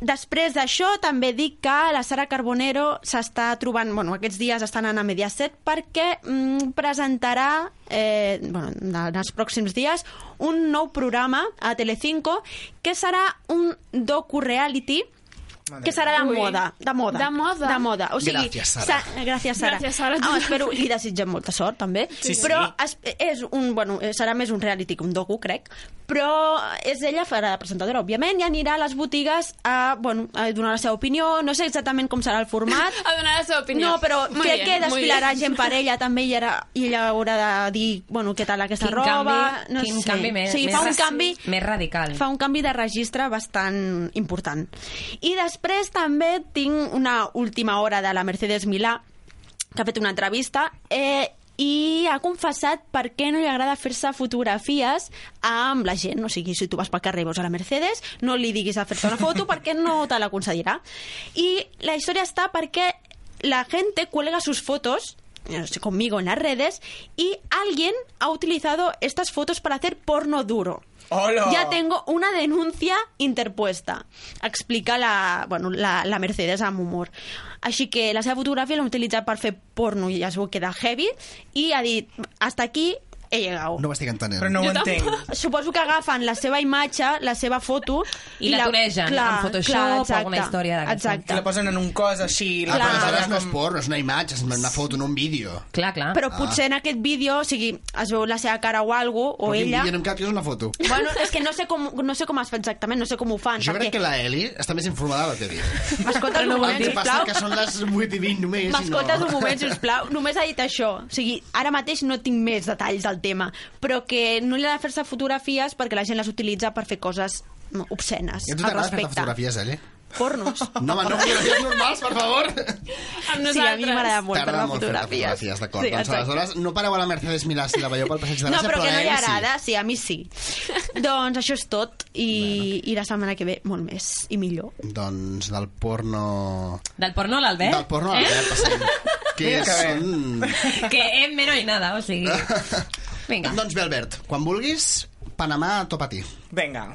[SPEAKER 3] Després d'això, també dic que la Sara Carbonero s'està trobant... Bueno, aquests dies estan anant a Mediaset perquè mm, presentarà, eh, bueno, en els pròxims dies, un nou programa a Telecinco que serà un docu-reality
[SPEAKER 2] Madre
[SPEAKER 3] que serà de
[SPEAKER 5] Ui.
[SPEAKER 3] moda, de moda.
[SPEAKER 5] De moda.
[SPEAKER 3] De moda. O sigui,
[SPEAKER 1] Gràcies, Sara.
[SPEAKER 3] Sa gràcies, Sara.
[SPEAKER 5] Gràcies, Sara.
[SPEAKER 3] Ah, espero, li desitgem molta sort, també.
[SPEAKER 2] Sí, sí.
[SPEAKER 3] Però es, és un, bueno, eh, serà més un reality que un docu, crec. Però és ella, farà de presentadora, òbviament, i anirà a les botigues a, bueno, a donar la seva opinió. No sé exactament com serà el format.
[SPEAKER 5] A donar la seva opinió.
[SPEAKER 3] No, però
[SPEAKER 5] Muy
[SPEAKER 3] crec
[SPEAKER 5] bien,
[SPEAKER 3] que
[SPEAKER 5] muy
[SPEAKER 3] desfilarà
[SPEAKER 5] bien.
[SPEAKER 3] gent per ella també i, era, i ella haurà de dir, bueno, què tal aquesta
[SPEAKER 4] Quin
[SPEAKER 3] roba...
[SPEAKER 4] canvi,
[SPEAKER 3] no
[SPEAKER 4] quin
[SPEAKER 3] sé.
[SPEAKER 4] canvi més,
[SPEAKER 3] sí,
[SPEAKER 4] més,
[SPEAKER 3] fa un
[SPEAKER 4] raci-
[SPEAKER 3] canvi
[SPEAKER 4] més radical.
[SPEAKER 3] fa un canvi de registre bastant important. I després també tinc una última hora de la Mercedes Milà, que ha fet una entrevista, eh, i ha confessat per què no li agrada fer-se fotografies amb la gent. O sigui, si tu vas pel carrer i veus a la Mercedes, no li diguis a fer-te una foto perquè no te l'aconseguirà. I la història està perquè la gente cuelga sus fotos no sé, conmigo en las redes y alguien ha utilizado estas fotos para hacer porno duro.
[SPEAKER 2] Hola.
[SPEAKER 3] Ya tengo una denuncia interpuesta. Explica la, bueno, la, la Mercedes amb humor. Així que la seva fotografia l'han utilitzat per fer porno i ja es queda heavy i ha dit, hasta aquí he llegat.
[SPEAKER 1] No m'estic entenent.
[SPEAKER 2] Però no ho
[SPEAKER 5] Jo tampoc.
[SPEAKER 2] entenc.
[SPEAKER 3] Suposo que agafen la seva imatge, la seva foto...
[SPEAKER 4] I la tunegen amb Photoshop o
[SPEAKER 3] exacte,
[SPEAKER 4] alguna història d'aquesta.
[SPEAKER 2] Que la
[SPEAKER 3] Exacte.
[SPEAKER 2] posen en un cos així...
[SPEAKER 1] Ah,
[SPEAKER 2] La
[SPEAKER 3] Clar.
[SPEAKER 1] però aleshores
[SPEAKER 2] posen
[SPEAKER 1] no és porno, és una imatge, és una foto, no un vídeo.
[SPEAKER 4] Clar, clar.
[SPEAKER 3] Però potser en aquest vídeo, o sigui, es veu la seva cara o algo, o
[SPEAKER 1] Però quin
[SPEAKER 3] ella...
[SPEAKER 1] vídeo no em cap, jo és una foto.
[SPEAKER 3] Bueno, és que no sé com, no sé com es fa exactament, no sé com ho fan.
[SPEAKER 1] Jo crec
[SPEAKER 3] perquè...
[SPEAKER 1] que la Eli està més informada de la tele.
[SPEAKER 3] M'escoltes un
[SPEAKER 1] El
[SPEAKER 3] moment,
[SPEAKER 1] que passa
[SPEAKER 3] sisplau?
[SPEAKER 1] que són les 8 i 20 només. i no.
[SPEAKER 3] M'escoltes un moment, sisplau? Només ha dit això. O sigui, ara mateix no tinc més detalls del tema, però que no li ha de fer-se fotografies perquè la gent les utilitza per fer coses mm, obscenes.
[SPEAKER 1] I a
[SPEAKER 3] al
[SPEAKER 1] tu t'agrada fer
[SPEAKER 3] respecte.
[SPEAKER 1] fotografies, Eli?
[SPEAKER 3] Pornos.
[SPEAKER 1] No, home, no fotografies normals, per favor.
[SPEAKER 5] Amb
[SPEAKER 3] Sí, a mi m'agrada
[SPEAKER 5] nosaltres.
[SPEAKER 3] molt fer
[SPEAKER 1] Tarda
[SPEAKER 3] les
[SPEAKER 1] molt fer
[SPEAKER 3] fotografies.
[SPEAKER 1] fotografies, d'acord. doncs
[SPEAKER 3] exacte.
[SPEAKER 1] aleshores no pareu a la Mercedes Milà si la veieu pel passeig de
[SPEAKER 3] No,
[SPEAKER 1] Gràcia,
[SPEAKER 3] però que no
[SPEAKER 1] a
[SPEAKER 3] li
[SPEAKER 1] Eli sí.
[SPEAKER 3] agrada, sí, a mi sí. doncs això és tot, i, i la setmana que ve molt més, i millor.
[SPEAKER 1] Doncs del porno...
[SPEAKER 4] Del porno a l'Albert,
[SPEAKER 1] Del porno a l'Albert, passem. Que
[SPEAKER 2] Mira que bé.
[SPEAKER 1] són...
[SPEAKER 4] que en menos hay nada, o sigui... Vinga.
[SPEAKER 1] Doncs bé, Albert, quan vulguis, Panamà topa a ti.
[SPEAKER 2] Vinga.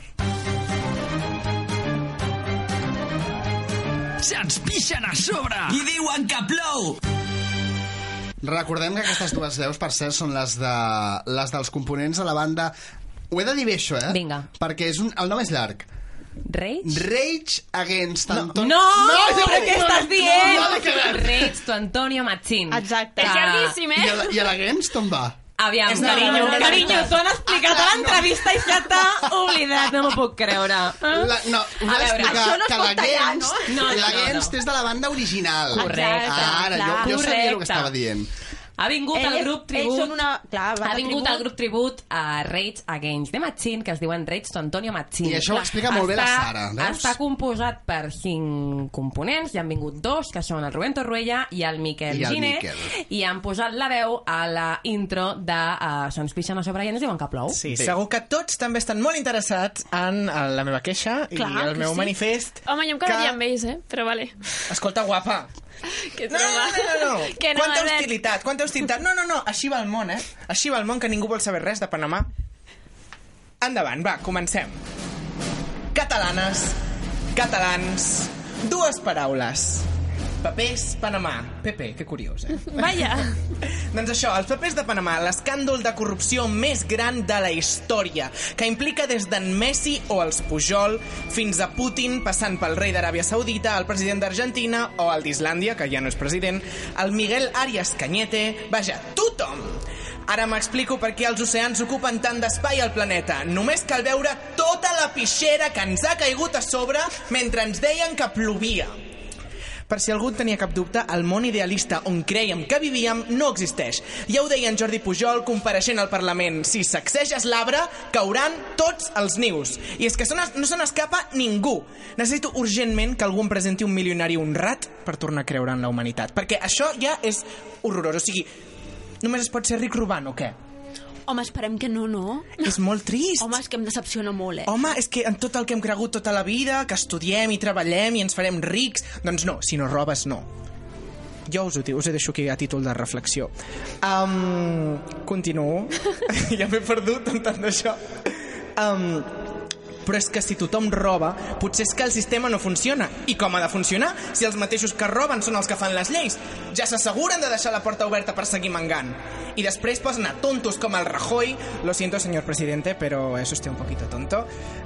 [SPEAKER 8] Se'ns pixen a sobre! I diuen que plou!
[SPEAKER 1] Recordem que aquestes dues veus, per cert, són les, de, les dels components de la banda... Ho he de dir bé, això, eh?
[SPEAKER 4] Vinga.
[SPEAKER 1] Perquè és un, el nom és llarg.
[SPEAKER 4] Rage?
[SPEAKER 1] Rage Against Antonio...
[SPEAKER 4] No,
[SPEAKER 1] jo-
[SPEAKER 4] però què estàs
[SPEAKER 1] No, l'he
[SPEAKER 4] dient?
[SPEAKER 1] cagat.
[SPEAKER 4] Rage, tu Antonio Machín.
[SPEAKER 3] Exacte.
[SPEAKER 5] És llarguíssim,
[SPEAKER 1] I
[SPEAKER 5] eh?
[SPEAKER 1] el, I l'Against on va?
[SPEAKER 4] Aviam,
[SPEAKER 2] És
[SPEAKER 4] carinyo,
[SPEAKER 2] una
[SPEAKER 4] carinyo,
[SPEAKER 2] realitat.
[SPEAKER 4] t'ho han explicat a l'entrevista i se t'ha oblidat, no m'ho puc creure.
[SPEAKER 1] La, no, ho
[SPEAKER 4] Ah? A veure,
[SPEAKER 1] he d'explicar,
[SPEAKER 4] això no es
[SPEAKER 1] que
[SPEAKER 4] pot tallar,
[SPEAKER 1] l'Against
[SPEAKER 4] no? No, no,
[SPEAKER 1] l'Against
[SPEAKER 4] no, no.
[SPEAKER 1] és de la banda original.
[SPEAKER 4] Correcte,
[SPEAKER 1] Ara, jo, jo sabia el
[SPEAKER 4] correcte.
[SPEAKER 1] que estava dient.
[SPEAKER 4] Ha vingut
[SPEAKER 3] Ell
[SPEAKER 4] el
[SPEAKER 3] és-
[SPEAKER 4] grup tribut...
[SPEAKER 3] ells són una- clar, van
[SPEAKER 4] ha
[SPEAKER 3] de
[SPEAKER 4] vingut
[SPEAKER 3] tribut.
[SPEAKER 4] el grup tribut a Rage Against the Machine, que es diuen Rage to Antonio Machine.
[SPEAKER 1] I això ho
[SPEAKER 4] Clar,
[SPEAKER 1] explica molt bé la
[SPEAKER 4] està-
[SPEAKER 1] Sara, veus?
[SPEAKER 4] Està composat per cinc components, hi han vingut dos, que són el Rubén Torruella i el Miquel
[SPEAKER 1] I el
[SPEAKER 4] Giner,
[SPEAKER 1] Miquel.
[SPEAKER 4] i han posat la veu a la intro de uh, Se'ns pixen a sobre i ens diuen que plou.
[SPEAKER 2] Sí, segur que tots també estan molt interessats en eh, la meva queixa
[SPEAKER 4] Clar
[SPEAKER 2] i el
[SPEAKER 4] que
[SPEAKER 2] meu
[SPEAKER 4] sí.
[SPEAKER 2] manifest.
[SPEAKER 5] Home, jo em quedaria amb ells, eh? Però vale.
[SPEAKER 2] Escolta, guapa,
[SPEAKER 5] Que
[SPEAKER 2] No, no, no, no, no.
[SPEAKER 5] Que no,
[SPEAKER 2] quanta
[SPEAKER 5] Albert.
[SPEAKER 2] hostilitat, quanta hostilitat. No, no, no, així va el món, eh? Així va el món, que ningú vol saber res de Panamà. Endavant, va, comencem. Catalanes, catalans, dues paraules. Papers, Panamà. PP, que curiós, eh?
[SPEAKER 5] Vaja.
[SPEAKER 2] Doncs això, els papers de Panamà, l'escàndol de corrupció més gran de la història, que implica des d'en Messi o els Pujol fins a Putin, passant pel rei d'Aràbia Saudita, el president d'Argentina o el d'Islàndia, que ja no és president, el Miguel Arias Cañete... Vaja, tothom! Ara m'explico per què els oceans ocupen tant d'espai al planeta. Només cal veure tota la pixera que ens ha caigut a sobre mentre ens deien que plovia. Per si algú en tenia cap dubte, el món idealista on creiem que vivíem no existeix. Ja ho deia en Jordi Pujol compareixent al Parlament. Si sacseges l'arbre, cauran tots els nius. I és que se n'es- no se n'escapa ningú. Necessito urgentment que algú em presenti un milionari honrat per tornar a creure en la humanitat. Perquè això ja és horrorós. O sigui, només es pot ser ric robant o què?
[SPEAKER 3] Home, esperem que no, no.
[SPEAKER 2] És molt trist.
[SPEAKER 3] Home, és que em decepciona molt, eh?
[SPEAKER 2] Home, és que en tot el que hem cregut tota la vida, que estudiem i treballem i ens farem rics... Doncs no, si no robes, no. Jo us ho, dic, us ho deixo aquí a títol de reflexió. Um, continuo. ja m'he perdut amb tant d'això. Um, però és que si tothom roba, potser és que el sistema no funciona. I com ha de funcionar si els mateixos que roben són els que fan les lleis? Ja s'asseguren de deixar la porta oberta per seguir mangant. I després posen a tontos com el Rajoy, lo siento, señor presidente, pero es usted un poquito tonto,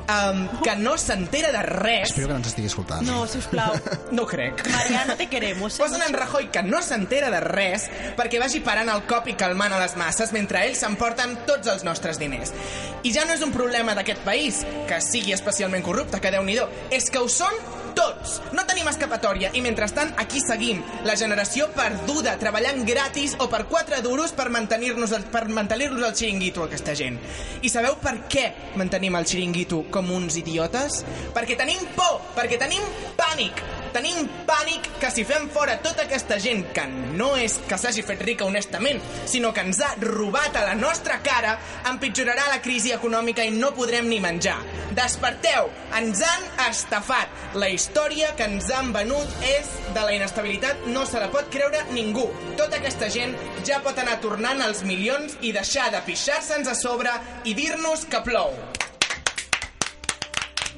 [SPEAKER 2] um, que no s'entera de res.
[SPEAKER 1] Espero que no ens estigui escoltant.
[SPEAKER 3] No, sisplau.
[SPEAKER 2] No ho crec.
[SPEAKER 3] Mariano, te queremos. eh?
[SPEAKER 2] Posen en Rajoy que no s'entera de res perquè vagi parant el cop i calmant a les masses mentre ells s'emporten tots els nostres diners. I ja no és un problema d'aquest país, que sigui especialment corrupte, que déu nhi és que ho són tots. No tenim escapatòria i mentrestant aquí seguim, la generació perduda, treballant gratis o per quatre duros per mantenir-nos el- per mantenir-los el xiringuito, aquesta gent. I sabeu per què mantenim el xiringuito com uns idiotes? Perquè tenim por, perquè tenim pànic, Tenim pànic que si fem fora tota aquesta gent que no és que s'hagi fet rica honestament, sinó que ens ha robat a la nostra cara, empitjorarà la crisi econòmica i no podrem ni menjar. Desperteu! Ens han estafat! La història que ens han venut és de la inestabilitat, no se la pot creure ningú. Tota aquesta gent ja pot anar tornant els milions i deixar de pixar-se'ns a sobre i dir-nos que plou.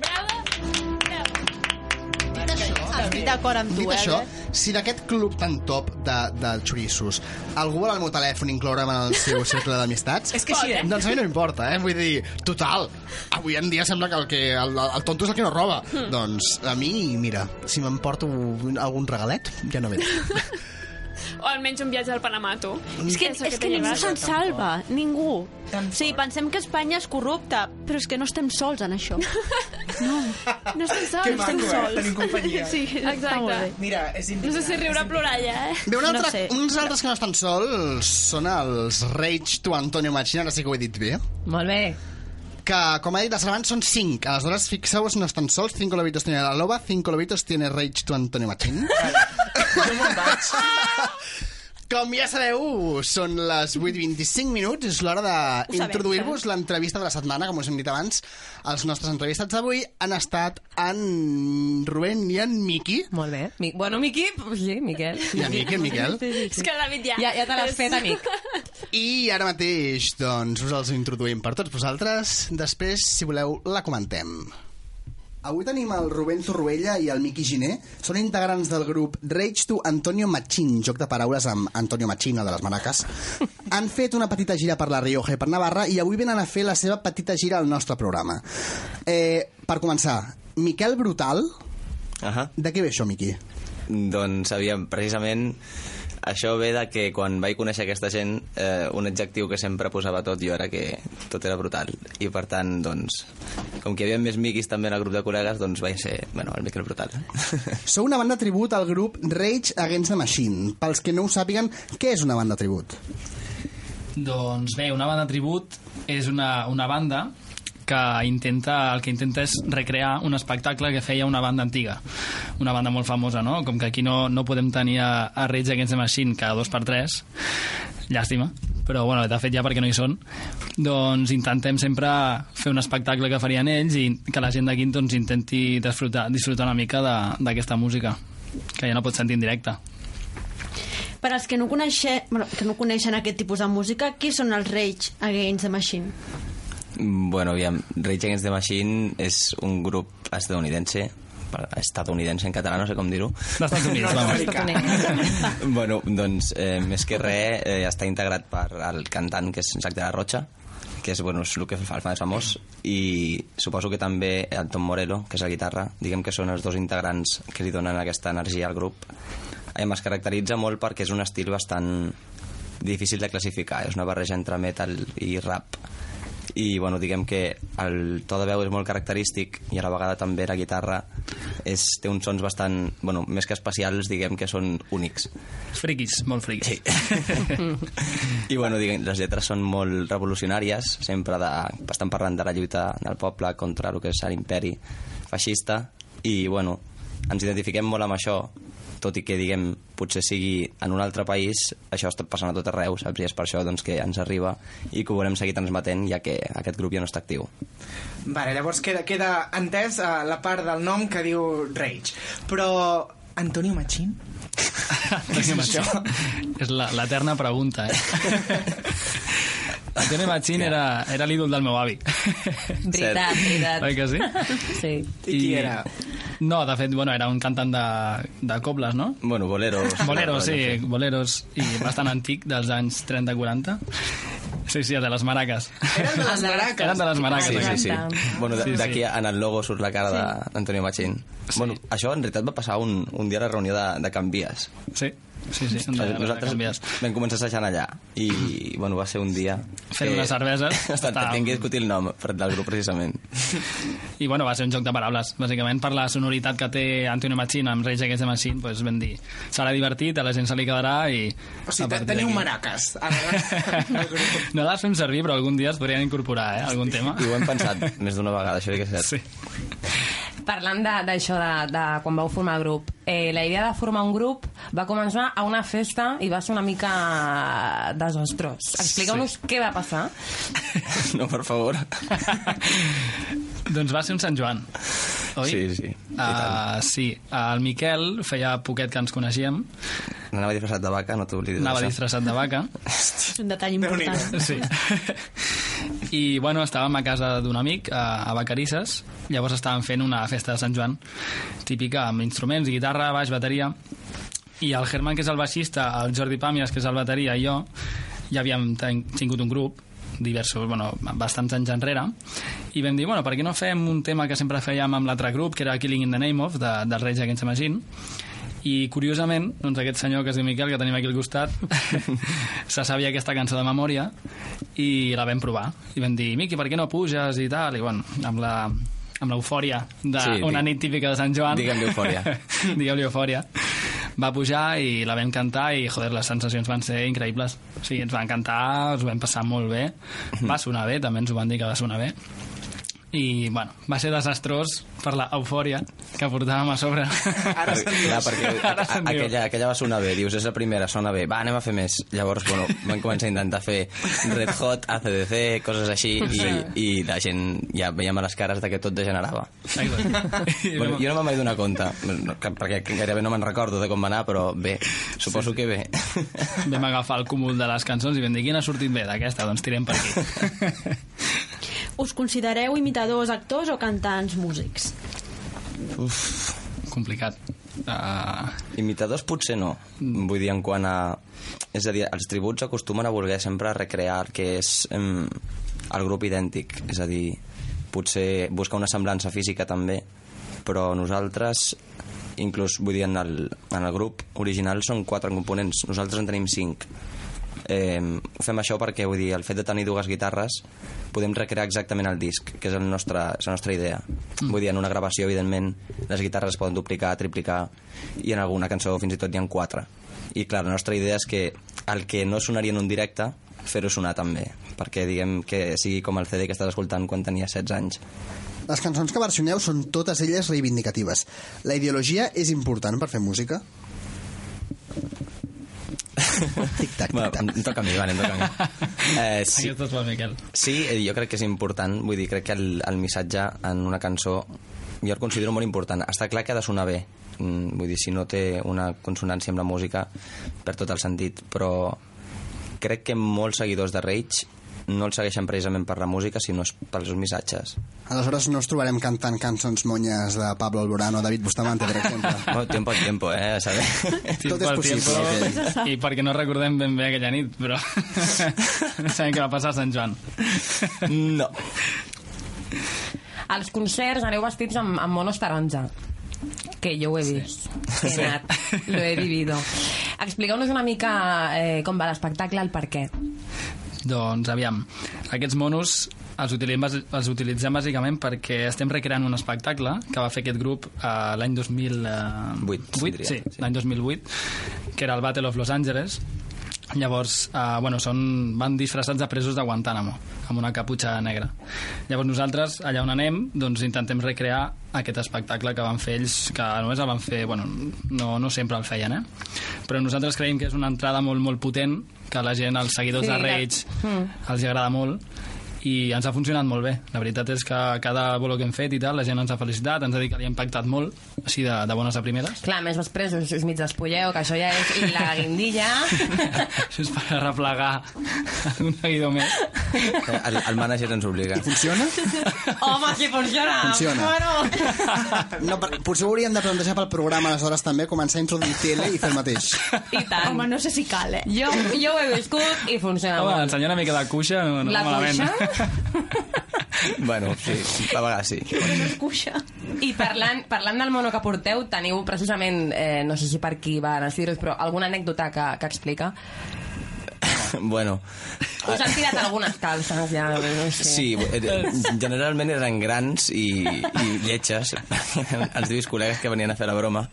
[SPEAKER 5] Bravo. Bravo.
[SPEAKER 3] Estic d'acord amb tu,
[SPEAKER 1] Dit
[SPEAKER 3] eh?
[SPEAKER 1] això,
[SPEAKER 3] Albert?
[SPEAKER 1] si d'aquest club tan top de, de xoriços algú vol el meu telèfon incloure'm en el seu cercle d'amistats,
[SPEAKER 2] És que així, eh?
[SPEAKER 1] doncs a mi no m'importa, eh? Vull dir, total, avui en dia sembla que el, que, el, el tonto és el que no roba.
[SPEAKER 4] Hmm.
[SPEAKER 1] Doncs a mi, mira, si m'emporto un- algun regalet, ja no ve.
[SPEAKER 5] O almenys un viatge al Panamà, tu.
[SPEAKER 3] És que,
[SPEAKER 5] Pensa
[SPEAKER 3] és
[SPEAKER 5] te
[SPEAKER 3] que ningú
[SPEAKER 5] llevas.
[SPEAKER 3] se'n salva, ningú.
[SPEAKER 2] Tan
[SPEAKER 3] Sí,
[SPEAKER 2] fort.
[SPEAKER 3] pensem que Espanya és corrupta, però és que no estem sols en això.
[SPEAKER 5] No estem sols.
[SPEAKER 2] Que maco, eh? Tenim companyia.
[SPEAKER 3] Sí, està molt bé.
[SPEAKER 5] Exacte.
[SPEAKER 2] Mira, és
[SPEAKER 5] No sé
[SPEAKER 2] indignant,
[SPEAKER 5] si riure
[SPEAKER 2] és
[SPEAKER 5] o plorar ja, eh?
[SPEAKER 1] Bé, un
[SPEAKER 3] No
[SPEAKER 1] altre,
[SPEAKER 3] sé.
[SPEAKER 1] uns altres que no estan sols són els Rage to Antonio Machina, ara sí que ho he dit bé,
[SPEAKER 4] Molt bé.
[SPEAKER 1] que, com ha dit la Sara abans, són 5. Aleshores, fixeu-vos, no estan sols. 5 lobitos tiene la loba, 5 lobitos tiene Rage to Antonio Machín.
[SPEAKER 2] Jo me'n vaig.
[SPEAKER 1] Com ja sabeu, són les 8.25 minuts, és l'hora
[SPEAKER 3] Ho sabem,
[SPEAKER 1] d'introduir-vos l'entrevista de la setmana, com us hem dit abans. Els nostres entrevistats d'avui han estat en Rubén i en Miqui.
[SPEAKER 4] Molt bé. Mi... Bueno, Miqui, sí, Miquel.
[SPEAKER 1] I en Miqui, en Miquel.
[SPEAKER 5] És que el David ja...
[SPEAKER 4] Ja, ja te l'has
[SPEAKER 5] és-
[SPEAKER 4] fet, amic.
[SPEAKER 1] I ara mateix, doncs, us els introduïm per tots vosaltres. Després, si voleu, la comentem. Avui tenim el Rubén Torruella i el Miqui Giné. Són integrants del grup Rage to Antonio Machín, joc de paraules amb Antonio Machín, el de les maraques. Han fet una petita gira per la Rioja i per Navarra i avui venen a fer la seva petita gira al nostre programa. Eh, per començar, Miquel Brutal,
[SPEAKER 11] Ahà.
[SPEAKER 1] de què ve això, Miqui?
[SPEAKER 11] Doncs, aviam, precisament això ve de que quan vaig conèixer aquesta gent, eh, un adjectiu que sempre posava tot jo era que tot era brutal. I per tant, doncs, com que hi havia més miquis també en el grup de col·legues, doncs vaig ser, bueno, el micro brutal.
[SPEAKER 1] Sou una banda tribut al grup Rage Against the Machine. Pels que no ho sàpiguen, què és una banda tribut?
[SPEAKER 12] Doncs bé, una banda tribut és una, una banda que intenta, el que intenta és recrear un espectacle que feia una banda antiga una banda molt famosa, no? Com que aquí no, no podem tenir a, a Rage Against the Machine cada dos per tres llàstima, però bueno, de fet ja perquè no hi són doncs intentem sempre fer un espectacle que farien ells i que la gent d'aquí doncs, intenti disfrutar, disfrutar una mica de- d'aquesta música que ja no pots sentir en directe
[SPEAKER 3] Per als que no, coneixen, bueno, que no coneixen aquest tipus de música, qui són els Rage Against the Machine?
[SPEAKER 11] Bueno, aviam, Rage Against the Machine és un grup estadounidense per- estadounidense en català, no sé com dir-ho.
[SPEAKER 12] D'Estats Units,
[SPEAKER 11] vamos. bueno, doncs, eh, més que res, eh, està integrat per el cantant, que és Jacques de la Rocha, que és, bueno, és el que fa el més famós, i suposo que també el Tom Morello, que és la guitarra, diguem que són els dos integrants que li donen aquesta energia al grup. Em es caracteritza molt perquè és un estil bastant difícil de classificar, és una barreja entre metal i rap i bueno, diguem que el to de veu és molt característic i a la vegada també la guitarra és, té uns sons bastant, bueno, més que especials diguem que són únics
[SPEAKER 12] friquis, molt friquis
[SPEAKER 11] sí. i bueno, diguem, les lletres són molt revolucionàries sempre de, estan parlant de la lluita del poble contra el que és l'imperi feixista i bueno, ens identifiquem molt amb això tot i que, diguem, potser sigui en un altre país, això està passant a tot arreu, saps? I és per això doncs, que ens arriba i que ho volem seguir transmetent, ja que aquest grup ja no està actiu.
[SPEAKER 2] Vale, llavors queda, queda entès eh, la part del nom que diu Rage. Però... Antonio Machín?
[SPEAKER 12] Què és això? És la- l'eterna pregunta, eh? Antonio Machín era, era l'ídol del meu avi.
[SPEAKER 4] Veritat, veritat.
[SPEAKER 12] Oi que sí?
[SPEAKER 4] Sí.
[SPEAKER 12] No, de fet, bueno, era un cantant de, de cobles, no?
[SPEAKER 11] Bueno, boleros.
[SPEAKER 12] Boleros, sí,
[SPEAKER 11] Rotllo,
[SPEAKER 12] boleros, i bastant antic, dels anys 30-40. Sí, sí, el de les maraques.
[SPEAKER 2] Eren de les maraques.
[SPEAKER 12] Eren de les maraques.
[SPEAKER 11] Sí, sí, sí.
[SPEAKER 12] exacte.
[SPEAKER 11] Bueno,
[SPEAKER 12] Sí,
[SPEAKER 11] de-
[SPEAKER 12] sí.
[SPEAKER 11] d'aquí en el logo surt la cara sí. d'Antonio Machín. Sí. Bueno, això en realitat va passar un, un dia a la reunió de, de Canvies.
[SPEAKER 12] Sí, sí, sí. de- de
[SPEAKER 11] Nosaltres vam començar assajant allà i, bueno, va ser un dia...
[SPEAKER 12] Fent unes cerveses.
[SPEAKER 11] Estan, que tinc que discutir el nom per- del grup, precisament.
[SPEAKER 12] I bueno, va ser un joc de paraules, bàsicament per la sonoritat que té Antonio Machín amb Rage Against the Machine, doncs vam dir, serà divertit, a la gent se li quedarà i...
[SPEAKER 2] O
[SPEAKER 12] a
[SPEAKER 2] sigui, te-
[SPEAKER 12] partir
[SPEAKER 2] teniu
[SPEAKER 12] d'aquí-
[SPEAKER 2] maraques. Ara,
[SPEAKER 12] No les fem servir, però algun dia es podrien incorporar, eh, algun tema.
[SPEAKER 11] I ho hem pensat més d'una vegada, això sí que és cert.
[SPEAKER 12] Sí.
[SPEAKER 4] Parlant de- d'això de, de, quan vau formar el grup, eh, la idea de formar un grup va començar a una festa i va ser una mica desastrós. Expliqueu-nos què va passar.
[SPEAKER 11] No, per favor.
[SPEAKER 12] Doncs va ser un Sant Joan, oi?
[SPEAKER 11] Sí, sí.
[SPEAKER 12] Uh, sí, el Miquel feia poquet que ens coneixíem,
[SPEAKER 11] Anava disfressat de vaca, no t'oblidis.
[SPEAKER 12] anava
[SPEAKER 11] d'això.
[SPEAKER 12] disfressat de vaca,
[SPEAKER 3] És un detall important.
[SPEAKER 12] Sí. I, bueno, estàvem a casa d'un amic, a, a Vacarisses, llavors estàvem fent una festa de Sant Joan, típica, amb instruments, guitarra, baix, bateria, i el Germán, que és el baixista, el Jordi Pàmies, que és el bateria, i jo, ja havíem ten- tingut un grup, diversos, bueno, bastants anys enrere, i vam dir, bueno, per què no fem un tema que sempre fèiem amb l'altre grup, que era Killing in the Name of, de, del Rage Against the Machine, i curiosament, doncs aquest senyor que es diu Miquel, que tenim aquí al costat, se sabia aquesta cançó de memòria i la vam provar. I vam dir, Miqui, per què no puges i tal? I bueno, amb la amb l'eufòria d'una sí,
[SPEAKER 11] Sí, digue-
[SPEAKER 12] nit típica de Sant Joan.
[SPEAKER 11] diguem-li eufòria.
[SPEAKER 12] Digueu-li eufòria. Va pujar i la vam cantar i, joder, les sensacions van ser increïbles. O sigui, ens va encantar, ens ho vam passar molt bé.
[SPEAKER 11] Mhm.
[SPEAKER 12] Va sonar bé, també ens ho van dir que va sonar bé. I, bueno, va ser desastrós per la eufòria que portàvem a sobre.
[SPEAKER 11] Ara Clar, perquè
[SPEAKER 12] Ara
[SPEAKER 11] a-
[SPEAKER 12] se'n diu.
[SPEAKER 11] aquella, aquella va sonar bé, dius, és la primera, sona bé, va, anem a fer més. Llavors, bueno, van començar a intentar fer Red Hot, ACDC, coses així, i, i la gent ja veiem a les cares de que tot degenerava. Bueno, jo no me'n vaig donar compte, no, que- perquè gairebé no me'n recordo de com va anar, però bé, suposo que bé.
[SPEAKER 12] Vam agafar el cúmul de les cançons i vam dir, quina ha sortit bé d'aquesta? Doncs tirem per aquí.
[SPEAKER 3] Us considereu imitadors, actors o cantants músics?
[SPEAKER 12] Uf, complicat. Mm. Uh...
[SPEAKER 11] Imitadors potser no, vull dir, en quant a... És a dir, els tributs acostumen a voler sempre recrear el que és em, el grup idèntic, és a dir, potser buscar una semblança física també, però nosaltres inclús vull dir en el, en el grup original són quatre components nosaltres en tenim cinc eh, fem això perquè vull dir, el fet de tenir dues guitarres podem recrear exactament el disc que és, el nostre, és la nostra idea mm. vull dir, en una gravació evidentment les guitarres es poden duplicar, triplicar i en alguna cançó fins i tot hi ha quatre i clar, la nostra idea és que el que no sonaria en un directe fer-ho sonar també perquè diguem que sigui com el CD que estàs escoltant quan tenia 16 anys
[SPEAKER 1] Les cançons que versioneu són totes elles reivindicatives. La ideologia és important per fer música?
[SPEAKER 11] Tic-tac, bueno, em, em toca a mi, vale, em toca a mi. Eh, sí,
[SPEAKER 12] Aquest és el Miquel.
[SPEAKER 11] sí, eh, jo crec que és important, vull dir, crec que el, el missatge en una cançó jo el considero molt important. Està clar que ha de sonar bé, Mm, vull dir, si no té una consonància amb la música, per tot el sentit, però crec que molts seguidors de Rage no el segueixen precisament per la música, sinó és pels seus missatges.
[SPEAKER 1] Aleshores no us trobarem cantant cançons monyes de Pablo Alborán o David Bustamante, per exemple.
[SPEAKER 11] Bueno, tiempo al tiempo, eh, saber.
[SPEAKER 1] Tot és possible. eh,
[SPEAKER 12] Tiempo, I perquè no recordem ben bé aquella nit, però... Sabem que va passar a Sant Joan.
[SPEAKER 11] No.
[SPEAKER 4] Als concerts aneu vestits amb, amb monos taronja que jo ho he vist, he anat, lo he vivido. Expliqueu-nos una mica eh, com va l'espectacle, el per què.
[SPEAKER 12] Doncs aviam, aquests monos els utilitzem, els utilitzem bàsicament perquè estem recreant un espectacle que va fer aquest grup eh, l'any 2008,
[SPEAKER 11] tindria,
[SPEAKER 12] sí, l'any 2008, que era el Battle of Los Angeles, Llavors, eh, bueno, són, van disfressats de presos de Guantánamo, amb una caputxa negra. Llavors nosaltres, allà on anem, doncs intentem recrear aquest espectacle que van fer ells, que només el van fer, bueno, no, no sempre el feien, eh? Però nosaltres creiem que és una entrada molt, molt potent, que a la gent, als seguidors
[SPEAKER 4] Sí,
[SPEAKER 12] de
[SPEAKER 4] la-
[SPEAKER 12] Rage,
[SPEAKER 4] Mm.
[SPEAKER 12] els hi agrada molt i ens ha funcionat molt bé. La veritat és que cada bolo que hem fet i tal, la gent ens ha felicitat, ens ha dit que li ha impactat molt, així de, de bones a primeres.
[SPEAKER 4] Clar, a més després us, us mig despulleu, que això ja és i la guindilla.
[SPEAKER 12] Això és per arreplegar un seguidor més.
[SPEAKER 11] El, el mànager ens obliga. I
[SPEAKER 1] funciona?
[SPEAKER 4] Home, si funciona!
[SPEAKER 1] Funciona.
[SPEAKER 4] Bueno.
[SPEAKER 1] No, per, potser ho hauríem de plantejar pel programa aleshores també, començar a introduir tele i fer el mateix.
[SPEAKER 4] I tant.
[SPEAKER 3] Home, no sé si cal, eh?
[SPEAKER 4] Jo, jo ho he viscut i funciona
[SPEAKER 12] Home,
[SPEAKER 4] molt.
[SPEAKER 12] ensenyar una mica de cuixa no, no
[SPEAKER 4] Ah, la
[SPEAKER 12] Ah, malament.
[SPEAKER 4] cuixa...
[SPEAKER 11] Bueno, sí, a vegades sí.
[SPEAKER 3] cuixa.
[SPEAKER 4] I parlant, parlant del mono que porteu, teniu precisament, eh, no sé si per qui va decidir-vos, però alguna anècdota que, que explica?
[SPEAKER 11] Bueno,
[SPEAKER 4] Us han tirat algunes calces, ja, no sé.
[SPEAKER 11] sí, eh, generalment eren grans i, i lletges, els dius col·legues que venien a fer la broma,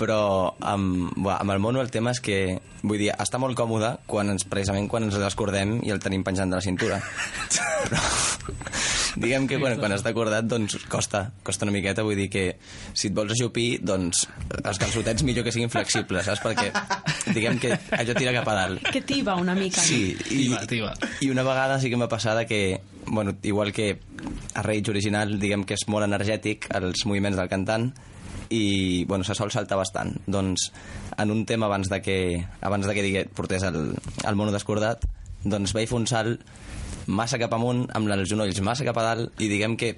[SPEAKER 11] però amb, buah, amb el mono el tema és que, vull dir, està molt còmode quan ens, precisament quan ens descordem i el tenim penjant de la cintura. Però, diguem que quan, quan està acordat, doncs costa, costa una miqueta, vull dir que si et vols ajupir, doncs els calçotets millor que siguin flexibles, saps? Perquè diguem que allò tira cap a dalt.
[SPEAKER 3] Que tiba una mica.
[SPEAKER 11] Sí, i, i una vegada sí que m'ha passat que, bueno, igual que a Rage original, diguem que és molt energètic els moviments del cantant i bueno, se sol saltar bastant. Doncs en un tema abans de que, abans de que digue, portés el, el mono descordat, doncs vaig fer un salt massa cap amunt, amb els genolls massa cap a dalt, i diguem que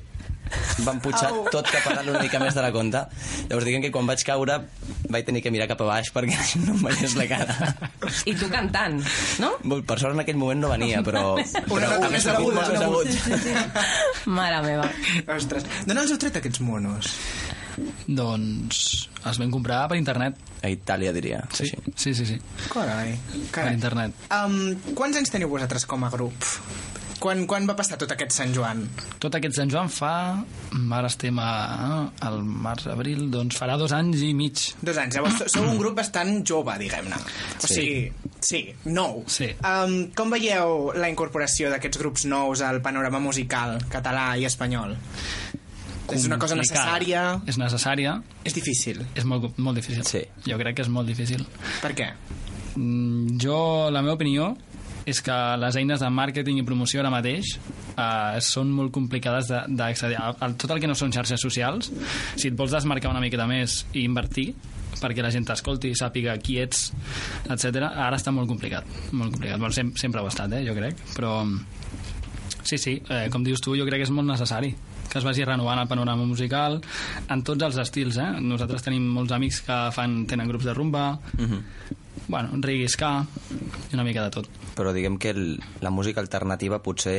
[SPEAKER 11] van pujar
[SPEAKER 13] Au.
[SPEAKER 11] tot cap a dalt una mica més de la compta. Llavors diguem que quan vaig caure vaig tenir que mirar cap a baix perquè no em veiés la cara.
[SPEAKER 4] I tu cantant, no?
[SPEAKER 11] Molt, per sort en aquell moment no venia, però... però
[SPEAKER 14] nota més aguda,
[SPEAKER 11] molt més
[SPEAKER 14] una
[SPEAKER 11] agut.
[SPEAKER 4] Mare meva.
[SPEAKER 14] Ostres, d'on els heu tret aquests monos?
[SPEAKER 12] Doncs els vam comprar per internet.
[SPEAKER 11] A Itàlia, diria.
[SPEAKER 12] Sí, sí, sí. sí.
[SPEAKER 14] Carai,
[SPEAKER 12] Per
[SPEAKER 14] carai.
[SPEAKER 12] internet.
[SPEAKER 14] Um, quants anys teniu vosaltres com a grup? Quan, quan va passar tot aquest Sant Joan?
[SPEAKER 12] Tot aquest Sant Joan fa... Ara estem a, eh, al març-abril, doncs farà dos anys i mig.
[SPEAKER 14] Dos anys. Llavors, so- sou un grup bastant jove, diguem-ne. O
[SPEAKER 12] Sí.
[SPEAKER 14] sigui, sí, nou.
[SPEAKER 12] Sí.
[SPEAKER 14] Um, com veieu la incorporació d'aquests grups nous al panorama musical català i espanyol? És una cosa
[SPEAKER 12] Complicada.
[SPEAKER 14] necessària?
[SPEAKER 12] És necessària.
[SPEAKER 14] És difícil.
[SPEAKER 12] És molt, molt difícil. Sí. Jo crec que és molt difícil.
[SPEAKER 14] Per què?
[SPEAKER 12] Mm, Jo, la meva opinió és que les eines de màrqueting i promoció ara mateix eh, són molt complicades de- d'accedir. A, a tot el que no són xarxes socials, si et vols desmarcar una miqueta més i invertir perquè la gent t'escolti i sàpiga qui ets, etc. ara està molt complicat. Molt complicat. Bueno, sem sempre ho ha estat, eh, jo crec. Però sí, sí, eh, com dius tu, jo crec que és molt necessari que es vagi renovant el panorama musical en tots els estils, eh? Nosaltres tenim molts amics que fan, tenen grups de rumba, bueno, reggae, ska, i una mica de tot.
[SPEAKER 11] Però diguem que el, la música alternativa potser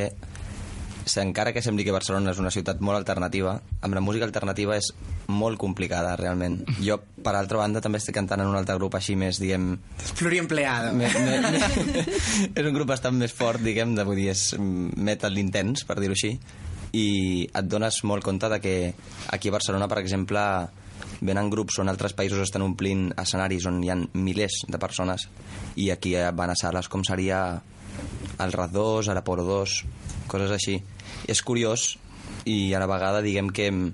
[SPEAKER 11] se- encara que sembli que Barcelona és una ciutat molt alternativa, amb la música alternativa és molt complicada, realment. Jo, per altra banda, també estic cantant en un altre grup així més, diguem...
[SPEAKER 14] Pluriempleado.
[SPEAKER 11] Me, me, me, és un grup bastant més fort, diguem, de, vull dir, és mm, metal intens, per dir-ho així, i et dones molt compte de que aquí a Barcelona, per exemple, venen grups on altres països estan omplint escenaris on hi ha milers de persones i aquí eh, van a sales com seria el RAD 2, a l'Apolo 2, coses així. És curiós i a la vegada diguem que mm,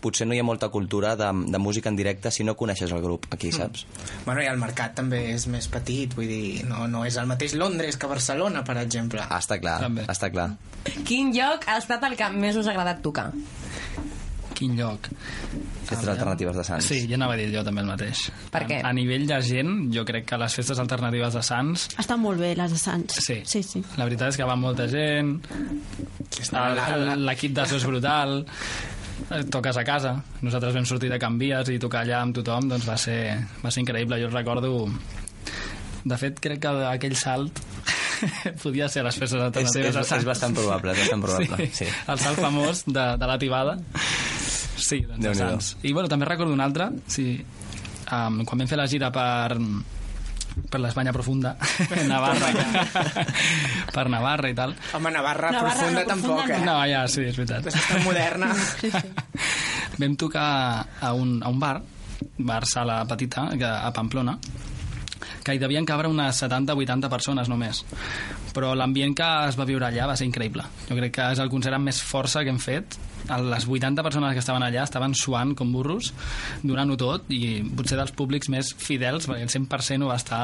[SPEAKER 11] potser no hi ha molta cultura de, de música en directe si no coneixes el grup aquí, saps?
[SPEAKER 2] Mm.
[SPEAKER 14] Bueno, i el mercat també és més petit, vull dir, no, no és el mateix Londres que Barcelona, per exemple.
[SPEAKER 11] Ah, està clar, També. està clar.
[SPEAKER 4] Quin lloc ha estat el que més us ha agradat tocar?
[SPEAKER 12] Quin lloc?
[SPEAKER 11] Festes alternatives de Sants.
[SPEAKER 12] Sí, ja anava a dir jo també el mateix.
[SPEAKER 4] Per què?
[SPEAKER 12] A, a nivell de gent, jo crec que les festes alternatives de Sants
[SPEAKER 3] Estan molt bé, les de Sants.
[SPEAKER 12] Sí.
[SPEAKER 3] Sí, sí.
[SPEAKER 12] La veritat és que va molta gent, el- el- l'equip de so és brutal, eh, toques a casa. Nosaltres vam sortir de Can Vies i tocar allà amb tothom, doncs va ser, va ser increïble. Jo recordo... De fet, crec que aquell salt podia ser a les festes alternatives
[SPEAKER 11] és-
[SPEAKER 12] de Sants.
[SPEAKER 11] és bastant probable, és bastant probable, sí.
[SPEAKER 12] El salt famós de, de la tibada. Sí, doncs de
[SPEAKER 11] Déu-n'hi-do.
[SPEAKER 12] Sants. I bueno, també recordo un altre, sí, um, quan vam fer la gira per, per l'Espanya profunda, Navarra, per Navarra i tal.
[SPEAKER 14] Home, Navarra, Navarra profunda, no, tampoc, profunda, eh?
[SPEAKER 12] No, ja, sí, és veritat.
[SPEAKER 14] És tan moderna.
[SPEAKER 12] Vam tocar a un, a un bar, bar sala petita, que, a Pamplona, que hi devien cabre unes 70-80 persones només. Però l'ambient que es va viure allà va ser increïble. Jo crec que és el concert amb més força que hem fet. El- Les 80 persones que estaven allà estaven suant com burros, donant-ho tot, i potser dels públics més fidels, perquè el 100% ho va estar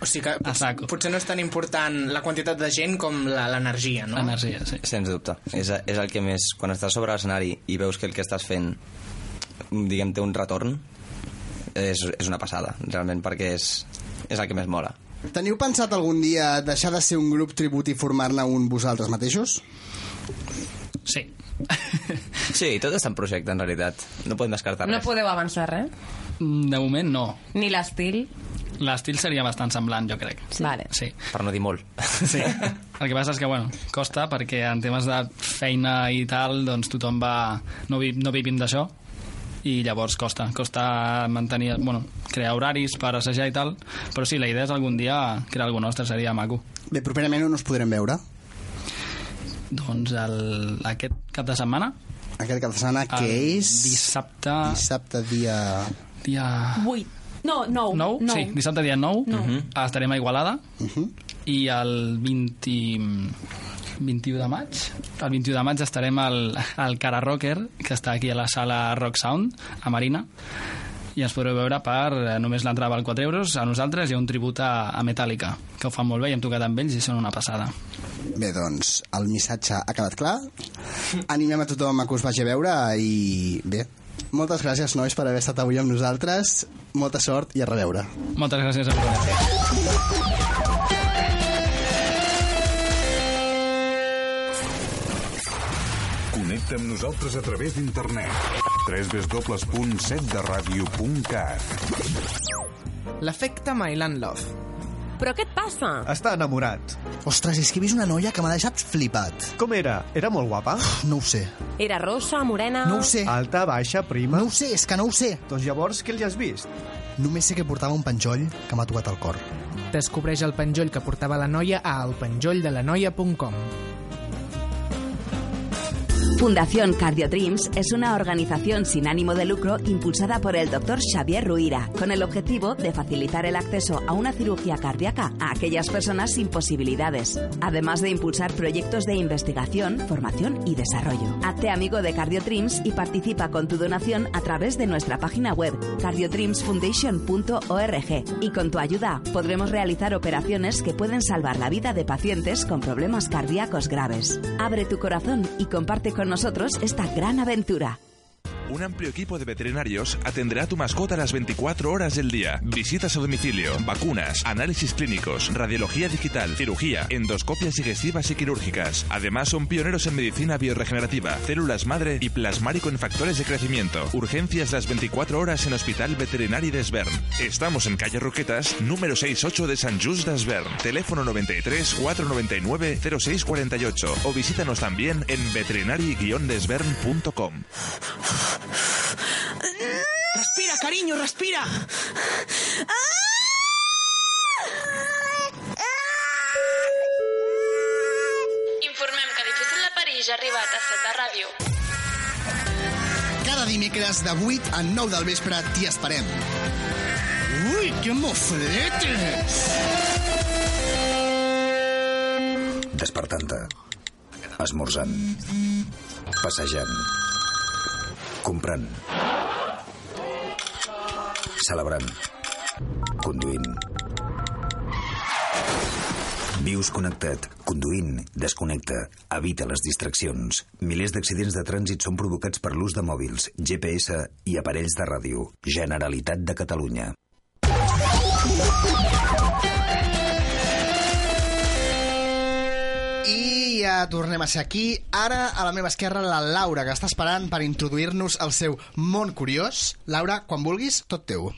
[SPEAKER 14] O sigui que potser, potser no és tan important la quantitat de gent com la- l'energia, no?
[SPEAKER 12] L'energia, sí.
[SPEAKER 11] Sens dubte. És, és el que més... Quan estàs sobre l'escenari i veus que el que estàs fent, diguem, té un retorn, és, és una passada, realment, perquè és, és el que més mola.
[SPEAKER 1] Teniu pensat algun dia deixar de ser un grup tribut i formar-ne un vosaltres mateixos?
[SPEAKER 12] Sí.
[SPEAKER 11] Sí, tot està en projecte, en realitat. No podem descartar
[SPEAKER 4] No
[SPEAKER 11] res.
[SPEAKER 4] podeu avançar, eh?
[SPEAKER 12] De moment, no.
[SPEAKER 4] Ni l'estil.
[SPEAKER 12] L'estil seria bastant semblant, jo crec.
[SPEAKER 4] Sí. Vale.
[SPEAKER 12] Sí.
[SPEAKER 11] Per no dir molt.
[SPEAKER 12] Sí. El que passa és que, bueno, costa perquè en temes de feina i tal, doncs tothom va... No, vi, no vivim d'això i llavors costa, costa mantenir, bueno, crear horaris per assajar i tal, però sí, la idea és algun dia crear alguna nostre, seria maco.
[SPEAKER 1] Bé, properament on us podrem veure?
[SPEAKER 12] Doncs el, aquest cap de setmana,
[SPEAKER 1] Aquest cap de setmana,
[SPEAKER 11] Ah,
[SPEAKER 1] que
[SPEAKER 12] El
[SPEAKER 1] és...
[SPEAKER 12] Dissabte...
[SPEAKER 1] Dissabte, dia...
[SPEAKER 12] dia...
[SPEAKER 3] 8. No, 9.
[SPEAKER 12] 9,
[SPEAKER 3] no.
[SPEAKER 12] sí, dissabte dia 9, estarem a Igualada i el 20... 21 de maig el 21 de maig estarem al, al Cara Rocker que està aquí a la sala Rock Sound a Marina i ens podreu veure per eh, només l'entrada val 4 euros a nosaltres hi ha un tribut a, a Metallica que ho fan molt bé i hem tocat amb ells i són una passada
[SPEAKER 1] Bé, doncs, el missatge ha quedat clar. Animem a tothom a que us vagi a veure i... Bé, moltes gràcies, nois, per haver estat avui amb nosaltres. Molta sort i a reveure.
[SPEAKER 12] moltes gràcies a vosaltres
[SPEAKER 13] Connecta amb nosaltres a través d'internet. www.setderadio.cat
[SPEAKER 14] L'efecte Myland Love.
[SPEAKER 4] Però què et passa?
[SPEAKER 15] Està enamorat.
[SPEAKER 1] Ostres, és que he vist una noia que m'ha deixat flipat.
[SPEAKER 15] Com era? Era molt guapa?
[SPEAKER 1] No ho sé.
[SPEAKER 4] Era rossa, morena...
[SPEAKER 15] Alta, baixa, prima...
[SPEAKER 1] No ho sé, és que no ho sé.
[SPEAKER 15] Doncs llavors, què li has vist?
[SPEAKER 1] Només sé que portava un penjoll que m'ha tocat el cor.
[SPEAKER 14] Descobreix el penjoll que portava la noia a elpenjolldelanoia.com
[SPEAKER 16] Fundación Cardio Dreams es una organización sin ánimo de lucro impulsada por el doctor Xavier Ruira con el objetivo de facilitar el acceso a una cirugía cardíaca a aquellas personas sin posibilidades, además de impulsar proyectos de investigación, formación y desarrollo. Hazte amigo de Cardio Dreams y participa con tu donación a través de nuestra página web cardiodreamsfoundation.org y con tu ayuda podremos realizar operaciones que pueden salvar la vida de pacientes con problemas cardíacos graves. Abre tu corazón y comparte con nosotros esta gran aventura.
[SPEAKER 17] Un amplio equipo de veterinarios atenderá a tu mascota las 24 horas del día. Visitas a domicilio, vacunas, análisis clínicos, radiología digital, cirugía, endoscopias digestivas y quirúrgicas. Además, son pioneros en medicina bioregenerativa, células madre y plasmárico en factores de crecimiento. Urgencias las 24 horas en Hospital Veterinario de Esbern. Estamos en calle Roquetas, número 68 de San Just d'Esbern. Teléfono 93 499 0648 o visítanos también en veterinari-desbern.com.
[SPEAKER 8] Respira, cariño, respira.
[SPEAKER 18] Informem que Difícil de París ha arribat a Zeta Ràdio.
[SPEAKER 1] Cada dimecres de 8 a 9 del vespre t'hi esperem. Ui, que mofletes!
[SPEAKER 19] Despertant-te. Esmorzant. Passejant. Comprant. Celebrant. Conduint. Vius connectat, conduint, desconnecta, evita les distraccions. Milers d'accidents de trànsit són provocats per l'ús de mòbils, GPS i aparells de ràdio. Generalitat de Catalunya.
[SPEAKER 1] I ja tornem a ser aquí. Ara, a la meva esquerra, la Laura, que està esperant per introduir-nos al seu món curiós. Laura, quan vulguis, tot teu.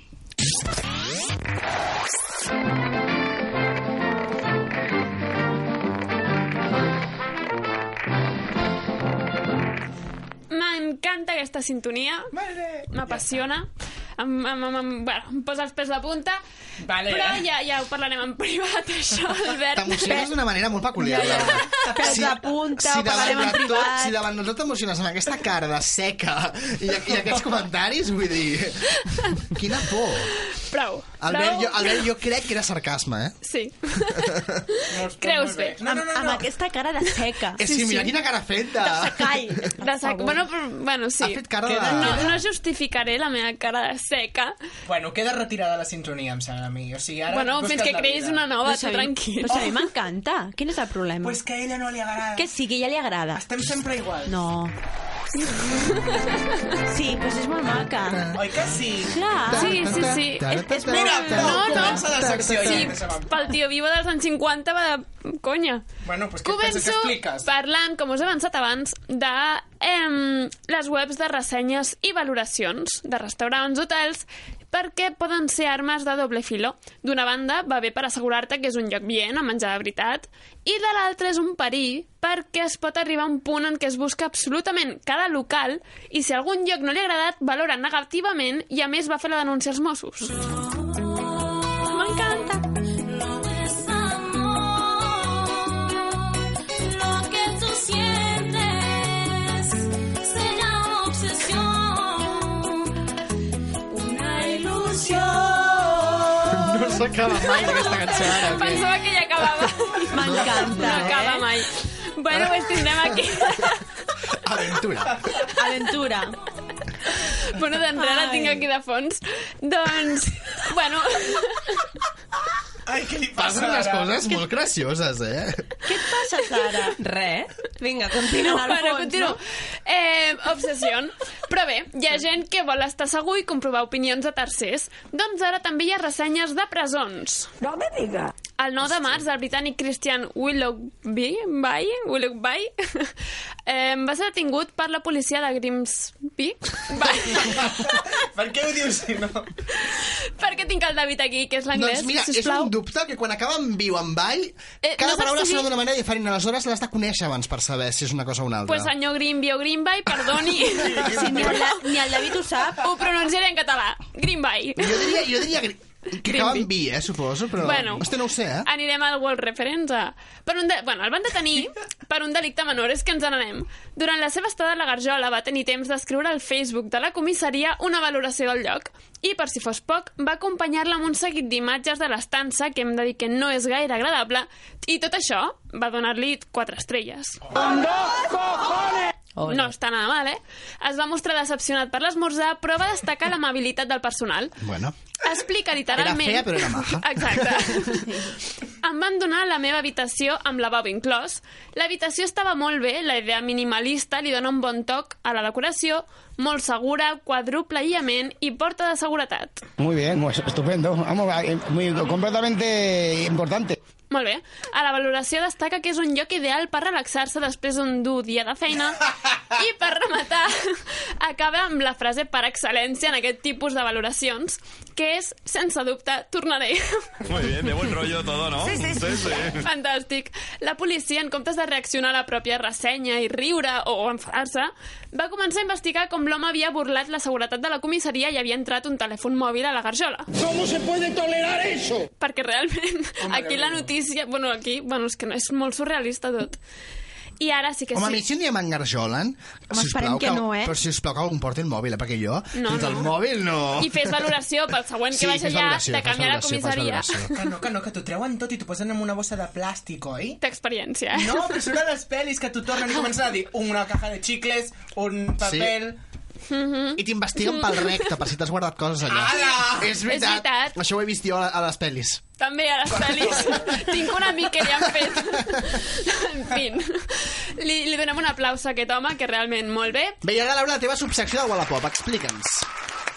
[SPEAKER 5] M'encanta aquesta sintonia. M'apassiona. Em, em, em, em, bueno, em posa els pes de punta.
[SPEAKER 2] Vale.
[SPEAKER 5] Però ja, ja ho parlarem en privat, això, Albert.
[SPEAKER 1] T'emociones d'una manera molt peculiar, Laura.
[SPEAKER 5] Pèls de punta, ho
[SPEAKER 1] davant
[SPEAKER 5] parlarem en
[SPEAKER 1] de
[SPEAKER 5] privat.
[SPEAKER 1] Tot, si davant de tot t'emociones amb aquesta cara de seca i, i aquests comentaris, vull dir... Quina por.
[SPEAKER 5] Prou.
[SPEAKER 1] Albert,
[SPEAKER 5] prou.
[SPEAKER 1] jo, Albert, jo crec que era sarcasme, eh?
[SPEAKER 5] Sí. Creus bé. No, no, no, amb, amb aquesta cara de seca.
[SPEAKER 1] És que Eh, mira quina cara feta.
[SPEAKER 5] De secall. De sec... bueno, però, bueno, sí.
[SPEAKER 1] Ha fet cara de-
[SPEAKER 5] no, no justificaré la meva cara de seca.
[SPEAKER 2] Bueno, queda retirada la sintonia, em sembla a mi. O sigui, ara
[SPEAKER 5] Bueno,
[SPEAKER 2] busques
[SPEAKER 5] fins que
[SPEAKER 2] pues la
[SPEAKER 5] creïs
[SPEAKER 2] vida.
[SPEAKER 5] una nova, tu tranquil.
[SPEAKER 3] Pues a mi m'encanta. Quin és el problema?
[SPEAKER 2] Pues que a ella no li agrada.
[SPEAKER 3] Que sí, que ja li agrada.
[SPEAKER 2] Estem sempre igual.
[SPEAKER 3] No. Sí, pues és molt maca.
[SPEAKER 2] Oi que sí?
[SPEAKER 3] Clar.
[SPEAKER 5] Sí, sí, sí. És, és molt...
[SPEAKER 2] Mira, no, comença la secció ja.
[SPEAKER 5] Sí, pel tio vivo dels anys 50 va de conya.
[SPEAKER 2] Bueno, pues què et penses que
[SPEAKER 5] Començo
[SPEAKER 2] expliques?
[SPEAKER 5] parlant, com us he avançat abans, de eh, les webs de ressenyes i valoracions de restaurants, hotels, perquè poden ser armes de doble filó. D'una banda, va bé per assegurar-te que és un lloc bien a menjar de veritat, i de l'altra és un perill perquè es pot arribar a un punt en què es busca absolutament cada local i si algun lloc no li ha agradat, valora negativament i a més va fer la denúncia als Mossos. M'encanta.
[SPEAKER 18] No es amor lo que tú sientes, se llama obsesión, una ilusión.
[SPEAKER 1] No s'acaba mai aquesta cançó ara. o què?
[SPEAKER 5] Pensava que ja acabava.
[SPEAKER 1] M'encanta,
[SPEAKER 5] No acaba
[SPEAKER 1] eh?
[SPEAKER 5] mai. Bueno, pues tindrem aquí.
[SPEAKER 1] Aventura.
[SPEAKER 5] Aventura. Bueno, d'entrada la
[SPEAKER 18] Ai.
[SPEAKER 5] tinc aquí de fons. Doncs, bueno...
[SPEAKER 2] Ai, què li
[SPEAKER 1] Passen unes coses molt gracioses, eh?
[SPEAKER 5] passa, Sara?
[SPEAKER 4] Res. Vinga,
[SPEAKER 5] No,
[SPEAKER 4] continua.
[SPEAKER 5] bueno, continuo. Eh, obsessió. Però bé, hi ha gent que vol estar segur i comprovar opinions de tercers. Doncs ara també hi ha ressenyes de presons. No me diga. El 9 de març, el britànic Christian Willoughby, Bay, Willoughby eh, va ser detingut per la policia de Grimsby
[SPEAKER 2] Per què ho dius si no?
[SPEAKER 5] perquè tinc el David aquí, que és l'anglès,
[SPEAKER 1] Doncs mira, és
[SPEAKER 5] sisplau.
[SPEAKER 1] un dubte que quan acaba en viu en ball,
[SPEAKER 5] Eh,
[SPEAKER 1] cada
[SPEAKER 5] no saps
[SPEAKER 1] paraula
[SPEAKER 5] si-
[SPEAKER 1] serà d'una manera diferent. Aleshores l'has de conèixer abans per saber si és una cosa o una altra.
[SPEAKER 5] Pues senyor Greenby o Greenby, perdoni.
[SPEAKER 1] Sí, ni el-
[SPEAKER 5] ni el David ho sap. Ho pronunciaré en català. Greenby.
[SPEAKER 1] Jo diria, jo diria que, que acaba en vi, eh, suposo, però...
[SPEAKER 5] Bueno.
[SPEAKER 1] Hosti, no ho sé, eh?
[SPEAKER 5] Anirem al World Reference. a- Per un de... bueno, el van detenir per un delicte menor, és que ens n'anem. Durant la seva estada a la Garjola va tenir temps d'escriure al Facebook de la comissaria una valoració del lloc i, per si fos poc, va acompanyar-la amb un seguit d'imatges de l'estança que hem de dir que no és gaire agradable i tot això va donar-li quatre estrelles. No està nada mal, eh? Es va mostrar decepcionat per l'esmorzar, però va destacar l'amabilitat del personal.
[SPEAKER 1] Bueno.
[SPEAKER 5] Explica literalment...
[SPEAKER 1] Era fea, però era maja.
[SPEAKER 5] Exacte. Em van donar la meva habitació amb lavabo inclòs. L'habitació estava molt bé, la idea minimalista li dona un bon toc a la decoració, molt segura, quadruple aïllament i porta de seguretat.
[SPEAKER 20] Muy bien, pues, estupendo. Vamos, va, eh, muy, completamente importante.
[SPEAKER 5] Molt bé. A la valoració destaca que és un lloc ideal per relaxar-se després d'un dur dia de feina i per rematar acaba amb la frase per excel·lència en aquest tipus de valoracions que és, sense dubte, tornaré.
[SPEAKER 17] Muy bien, de buen rollo todo, ¿no?
[SPEAKER 5] Fantàstic. La policia, en comptes de reaccionar a la pròpia ressenya i riure o enfadar-se, va començar a investigar com l'home havia burlat la seguretat de la comissaria i havia entrat un telèfon mòbil a la garjola.
[SPEAKER 8] ¿Cómo se puede tolerar eso?
[SPEAKER 5] Perquè realment, aquí la notícia... Bueno, aquí, bueno, és que no, és molt surrealista tot. I ara sí que
[SPEAKER 1] Home, a mi
[SPEAKER 5] sí.
[SPEAKER 1] si un dia m'engarjolen...
[SPEAKER 5] Home, esperem que no, eh?
[SPEAKER 1] Però sisplau que algú em porti el mòbil, eh? perquè jo... No,
[SPEAKER 5] No,
[SPEAKER 1] no. El
[SPEAKER 5] no.
[SPEAKER 1] mòbil no...
[SPEAKER 5] I fes valoració pel següent que
[SPEAKER 1] Sí,
[SPEAKER 5] vaig
[SPEAKER 1] fes
[SPEAKER 5] allà
[SPEAKER 1] valoració,
[SPEAKER 5] de
[SPEAKER 1] fes
[SPEAKER 5] canviar la
[SPEAKER 1] valoració, fes
[SPEAKER 5] comissaria.
[SPEAKER 1] valoració.
[SPEAKER 14] Que no, que no, que t'ho treuen tot i t'ho posen en una bossa de plàstic, oi?
[SPEAKER 5] Té experiència, eh?
[SPEAKER 14] No, però surt a les pel·lis que t'ho tornen i comencen a dir una caja de xicles, un papel...
[SPEAKER 1] I
[SPEAKER 3] Mm.
[SPEAKER 1] t'investiguen pel recte, per si t'has guardat coses allà.
[SPEAKER 5] Ala!
[SPEAKER 1] És veritat.
[SPEAKER 5] És veritat.
[SPEAKER 1] Això ho he vist jo a, a les pel·lis.
[SPEAKER 5] També a les pel·lis. Tinc un amic que li han fet. en fi. Li, li donem un aplaus a aquest home, que realment molt bé.
[SPEAKER 1] Bé, i ara, Laura, la teva subsecció del Wallapop, explica'ns.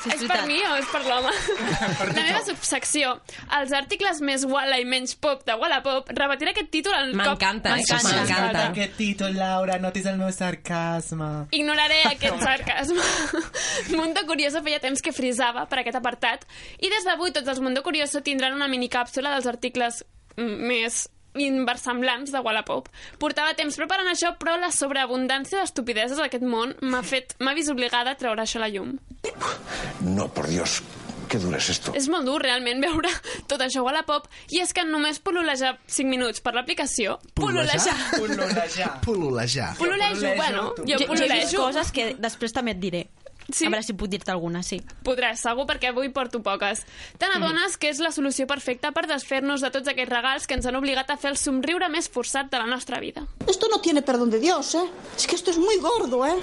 [SPEAKER 5] Sí, és, per mi o és per l'home? La meva subsecció, els articles més Walla i menys pop de Wallapop, repetiré aquest títol al cop...
[SPEAKER 4] M'encanta, eh?
[SPEAKER 14] M'encanta aquest títol, Laura, notis el meu sarcasme.
[SPEAKER 5] Ignoraré aquest sarcasme. Mundo Curioso feia temps que frisava per aquest apartat i des d'avui tots els Mundo Curioso tindran una minicàpsula dels articles mm, més inversemblants de Wallapop. Portava temps preparant això, però la sobreabundància d'estupideses d'aquest món m'ha fet m'ha vist obligada a treure això a la llum.
[SPEAKER 21] No, por Dios, qué duro es esto.
[SPEAKER 5] És molt dur, realment, veure tot això a Wallapop i és que només pololejar 5 minuts per l'aplicació...
[SPEAKER 1] Pololejar?
[SPEAKER 14] Pololejar.
[SPEAKER 1] Pololejar.
[SPEAKER 5] Pololejo, bueno, jo
[SPEAKER 3] jo, jo he vist
[SPEAKER 5] pololejo.
[SPEAKER 3] coses que després també et diré.
[SPEAKER 5] Sí?
[SPEAKER 3] A veure si puc dir-te alguna, sí.
[SPEAKER 5] Podràs, segur, perquè avui porto poques. Te
[SPEAKER 1] Mm.
[SPEAKER 5] n'adones que és la solució perfecta per desfer-nos de tots aquests regals que ens han obligat a fer el somriure més forçat de la nostra vida.
[SPEAKER 7] Esto no tiene perdón de Dios, ¿eh? Es que esto es muy gordo, ¿eh?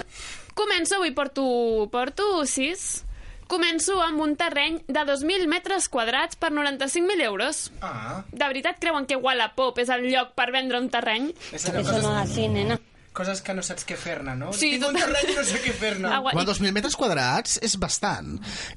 [SPEAKER 5] Començo, avui porto, porto sis. Començo amb un terreny de 2.000 metres quadrats per 95.000 euros.
[SPEAKER 14] Ah.
[SPEAKER 5] De veritat creuen que Wallapop és el lloc per vendre un terreny?
[SPEAKER 14] Eso no Eso no es
[SPEAKER 5] así, nena.
[SPEAKER 14] Coses que no saps què fer-ne, no?
[SPEAKER 5] Sí,
[SPEAKER 14] Tinc un
[SPEAKER 5] tot-
[SPEAKER 14] terreny i no sé què fer-ne.
[SPEAKER 5] Ah, guai.
[SPEAKER 1] Bueno, 2.000 metres quadrats és bastant.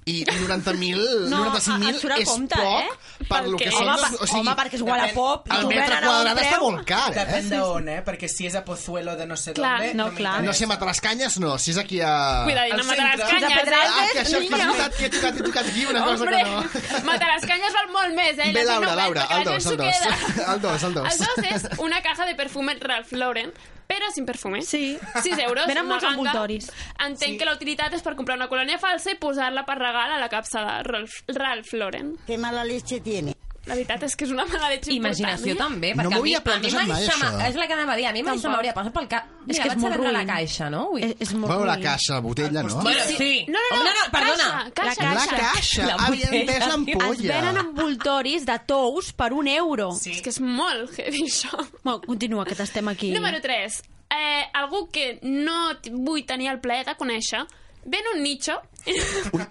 [SPEAKER 1] I 90.000,
[SPEAKER 3] No, a- a
[SPEAKER 1] 95.000
[SPEAKER 3] surt a
[SPEAKER 1] és
[SPEAKER 3] compte,
[SPEAKER 1] poc
[SPEAKER 3] eh?
[SPEAKER 1] per lo
[SPEAKER 3] Perquè-
[SPEAKER 1] que són...
[SPEAKER 3] Home,
[SPEAKER 1] dos-
[SPEAKER 3] per- home, perquè és Wallapop,
[SPEAKER 1] El
[SPEAKER 3] t'ho
[SPEAKER 1] metre
[SPEAKER 3] venen a un
[SPEAKER 1] quadrat està
[SPEAKER 3] preu.
[SPEAKER 1] molt car, eh?
[SPEAKER 14] Depèn d'on, eh? Perquè si és a Pozuelo de no sé
[SPEAKER 1] Clar,
[SPEAKER 14] d'on...
[SPEAKER 1] no, clar. No sé, a Matarascanyes no, si és aquí a...
[SPEAKER 5] Cuidadín,
[SPEAKER 1] Ah. al
[SPEAKER 5] a Matarascanyes,
[SPEAKER 1] centre.
[SPEAKER 5] Pedralbes,
[SPEAKER 1] Ah, que això és
[SPEAKER 5] eh? niño.
[SPEAKER 1] veritat, que he tocat, he tocat aquí una cosa que no...
[SPEAKER 5] Matarascañas val molt més, eh?
[SPEAKER 1] Bé,
[SPEAKER 5] La gent
[SPEAKER 1] Laura,
[SPEAKER 5] no
[SPEAKER 1] Laura,
[SPEAKER 5] pensa
[SPEAKER 1] el
[SPEAKER 5] que
[SPEAKER 1] dos,
[SPEAKER 5] la gent
[SPEAKER 1] el
[SPEAKER 5] s'ho
[SPEAKER 1] dos.
[SPEAKER 5] queda.
[SPEAKER 1] El dos, el dos.
[SPEAKER 5] El dos és una caja de perfume Ralph Lauren, però sin perfume. Sí. 6 euros.
[SPEAKER 3] Venen
[SPEAKER 5] una
[SPEAKER 3] molts
[SPEAKER 5] ganga.
[SPEAKER 3] envoltoris.
[SPEAKER 5] Entenc sí. que la utilitat és per comprar una colònia falsa i posar-la per regal a la capsa de Ralph, Ralph Lauren.
[SPEAKER 7] Qué mala leche tiene.
[SPEAKER 5] La veritat és que és una mala leche
[SPEAKER 4] Imaginació
[SPEAKER 5] important,
[SPEAKER 4] també,
[SPEAKER 5] eh?
[SPEAKER 4] perquè a mi, a mi
[SPEAKER 1] plantejat mai,
[SPEAKER 4] m'aixama-
[SPEAKER 1] això.
[SPEAKER 4] és la que anava a dir, a mi mai se
[SPEAKER 5] Tampoc.
[SPEAKER 4] m'hauria passat pel cap. Mira,
[SPEAKER 5] És que és
[SPEAKER 4] vaig
[SPEAKER 5] molt
[SPEAKER 4] a veure la
[SPEAKER 5] ruïn.
[SPEAKER 4] caixa, no? Ui.
[SPEAKER 3] És, és
[SPEAKER 1] Bueno, la caixa, la botella, no?
[SPEAKER 4] Bueno, sí.
[SPEAKER 3] No, no, no,
[SPEAKER 4] no, no perdona.
[SPEAKER 3] caixa, caixa.
[SPEAKER 1] La caixa.
[SPEAKER 3] La
[SPEAKER 1] Havien
[SPEAKER 3] botella.
[SPEAKER 1] vist l'ampolla.
[SPEAKER 3] Es venen envoltoris de tous per un euro.
[SPEAKER 5] Sí. És que és molt heavy, això.
[SPEAKER 3] Bueno, continua, que t'estem aquí.
[SPEAKER 5] Número 3. Eh, algú que no t- vull tenir el plaer de conèixer, ven un nicho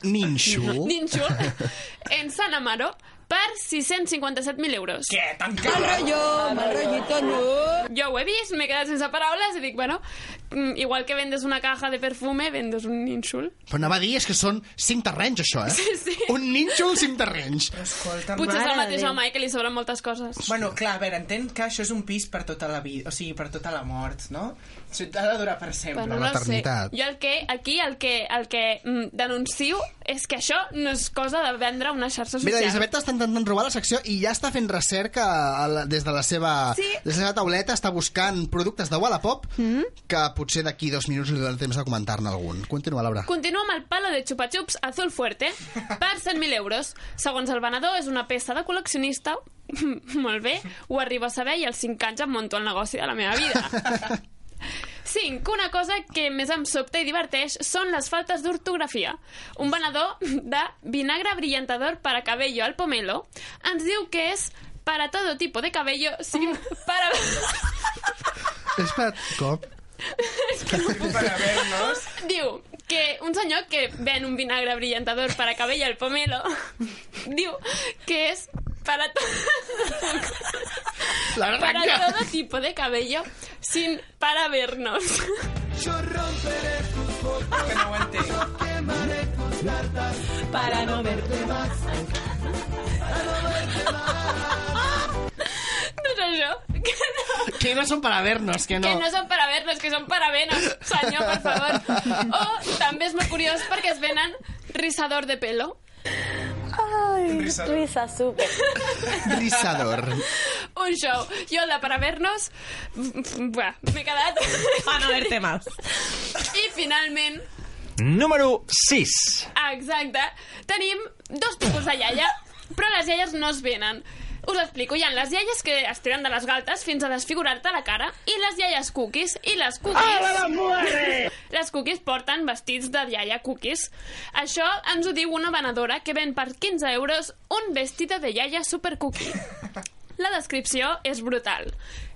[SPEAKER 1] Ninxo.
[SPEAKER 5] Ninxo. en San Amaro per 657.000 euros.
[SPEAKER 14] Què? Tan
[SPEAKER 5] car? Mal rotllo, mal rotllito, no. Jo ho he vist, m'he quedat sense paraules i dic, bueno, mm, igual que vendes una caja de perfume, vendes un ninxul.
[SPEAKER 1] Però anava a dir, és que són cinc terrenys, això, eh? Sí, sí. Un ninxo, cinc terrenys.
[SPEAKER 14] Escolta,
[SPEAKER 5] Potser és el mateix home eh, que li sobren moltes coses.
[SPEAKER 14] Bueno, clar, a veure, entenc que això és un pis per tota la vida, o sigui, per tota la mort, no? O sigui, ha de durar per sempre.
[SPEAKER 5] Bueno, no ho sé. Jo el que, aquí el que, el que mm, denuncio és que això no és cosa de vendre una xarxa social.
[SPEAKER 1] Mira, Elisabet està intentant robar la secció i ja està fent recerca a la- des de la seva,
[SPEAKER 5] Sí.
[SPEAKER 1] des de la seva tauleta, està buscant productes de Wallapop
[SPEAKER 3] Mm.
[SPEAKER 1] que potser d'aquí dos minuts li donarà temps de comentar-ne algun. Continua, Laura.
[SPEAKER 5] Continua amb el palo de xupa-xups azul fuerte per 100.000 euros. Segons el venedor, és una peça de col·leccionista molt bé, ho arribo a saber i als 5 anys em monto el negoci de la meva vida. 5. Una cosa que més em sobta i diverteix són les faltes d'ortografia. Un venedor de vinagre brillantador para cabello al pomelo ens diu que és para todo tipo de cabello sin para...
[SPEAKER 1] Espera't, cop.
[SPEAKER 5] Diu que un senyor que ven un vinagre brillantador para cabello al pomelo diu que és para todo...
[SPEAKER 1] La
[SPEAKER 5] para todo tipo de cabello sin para vernos.
[SPEAKER 4] Para no verte más.
[SPEAKER 5] No sé yo. Que no,
[SPEAKER 1] Que no son para vernos, que no.
[SPEAKER 5] que no són per a ver-nos, que són per a venos. Senyor, per favor. O també és molt curiós perquè es venen risador de pelo.
[SPEAKER 6] Ay,
[SPEAKER 1] Risador.
[SPEAKER 6] risa súper.
[SPEAKER 1] Grisador.
[SPEAKER 5] Un show. Jo, la para ver-nos, buah, m'he quedat...
[SPEAKER 4] Para Ah, no verte más.
[SPEAKER 5] I finalment, Ah,
[SPEAKER 22] Número 6.
[SPEAKER 5] Exacte. Tenim dos tipus de iaia, però les iaies no es venen. Us explico, hi ha les iaies que es tiren de les galtes fins a desfigurar-te la cara i les iaies cookies i les cookies...
[SPEAKER 6] ¡Hala, muere!
[SPEAKER 5] les cookies porten vestits de iaia cookies. Això ens ho diu una venedora que ven per 15 euros un vestido de iaia super cookie. La descripció és brutal.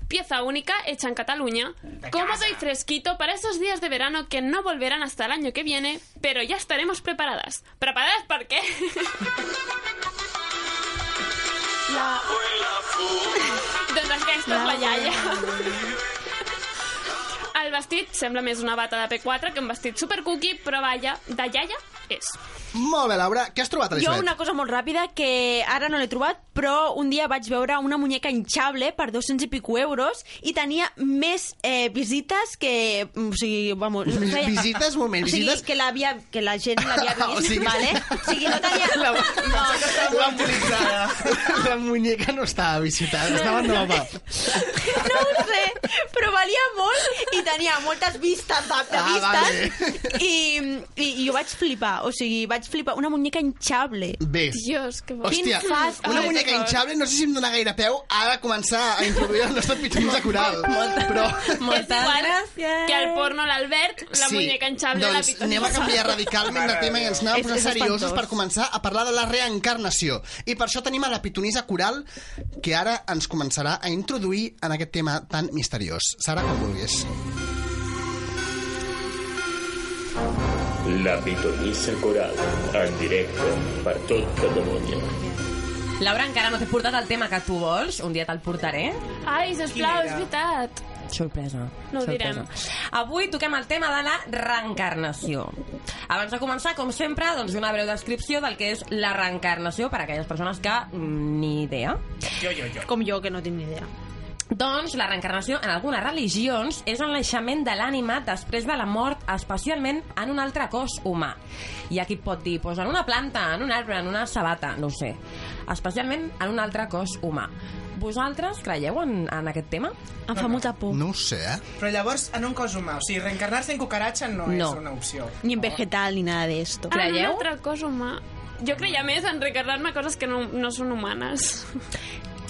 [SPEAKER 5] Pieza única hecha en Cataluña, cómodo y fresquito para esos días de verano que no volverán hasta el año que viene, pero ya estaremos preparadas. ¿Preparadas por qué? La... doncs aquesta és la iaia. El vestit sembla més una bata de P4 que un vestit supercookie, però vaja, de iaia és.
[SPEAKER 1] Molt bé, Laura, què has trobat a
[SPEAKER 3] Jo
[SPEAKER 1] l'Isbet?
[SPEAKER 3] una cosa molt ràpida que ara no l'he trobat, però un dia vaig veure una muñeca hinchable per 200 i pico euros i tenia més eh, visites que... mm, O sigui, vamos...
[SPEAKER 1] Vi-
[SPEAKER 3] feia-
[SPEAKER 1] visites, moment,
[SPEAKER 3] o sigui,
[SPEAKER 1] visites?
[SPEAKER 3] Que, l'havia- que la gent l'havia
[SPEAKER 1] O
[SPEAKER 3] vist,
[SPEAKER 1] sigui-
[SPEAKER 3] vale? O sigui, no tenia...
[SPEAKER 1] La-
[SPEAKER 3] no,
[SPEAKER 1] La muñeca, la muñeca no estava visitada, estava nova.
[SPEAKER 3] no ho sé, però valia molt i tenia moltes vistes de, de
[SPEAKER 1] Ah,
[SPEAKER 3] vistes i, i, i jo vaig flipar, o sigui, vaig flipar una muñeca hinchable.
[SPEAKER 1] Ves.
[SPEAKER 5] Dios, que bo.
[SPEAKER 1] Hòstia,
[SPEAKER 3] Quin fast-
[SPEAKER 1] una
[SPEAKER 3] Ai,
[SPEAKER 1] muñeca
[SPEAKER 3] per favor.
[SPEAKER 1] hinchable, no sé si em dona gaire peu ara començar a introduir el nostre pitjor de coral. Però...
[SPEAKER 5] Moltes gràcies. Que el porno l'Albert, la
[SPEAKER 1] Sí,
[SPEAKER 5] muñeca enxable,
[SPEAKER 1] doncs
[SPEAKER 5] la
[SPEAKER 1] anem a canviar radicalment de tema i ens anem a posar seriosos per començar a parlar de la reencarnació. I per això tenim a la pitonisa coral que ara ens començarà a introduir en aquest tema tan misteriós. Sara, com vulguis.
[SPEAKER 23] La pitonissa coral, en directe per tot Catalunya.
[SPEAKER 4] Laura, encara no t'he portat el tema que tu vols. Un dia te'l portaré.
[SPEAKER 5] Ai, sisplau, és veritat.
[SPEAKER 4] Sorpresa.
[SPEAKER 5] No ho
[SPEAKER 4] sorpresa.
[SPEAKER 5] direm.
[SPEAKER 4] Avui toquem el tema de la reencarnació. Abans de començar, com sempre, doncs una breu descripció del que és la reencarnació per a aquelles persones que mm, ni idea.
[SPEAKER 14] Jo, jo, jo.
[SPEAKER 3] Com jo, que no tinc ni idea.
[SPEAKER 4] Doncs la reencarnació en algunes religions és el naixement de l'ànima després de la mort, especialment en un altre cos humà. Hi ha qui pot dir, doncs en una planta, en un arbre, en una sabata, no ho sé. Especialment en un altre cos humà. Vosaltres creieu en, en aquest tema?
[SPEAKER 3] Em fa molta por.
[SPEAKER 1] No ho sé, eh?
[SPEAKER 14] Però llavors, en un cos humà, o sigui, reencarnar-se en cucaracha no,
[SPEAKER 4] No.
[SPEAKER 14] és una opció.
[SPEAKER 3] Ni en vegetal, ni nada de esto.
[SPEAKER 5] Ah, una altra cosa humà. Jo creia més en recarregar-me coses que no, no són humanes.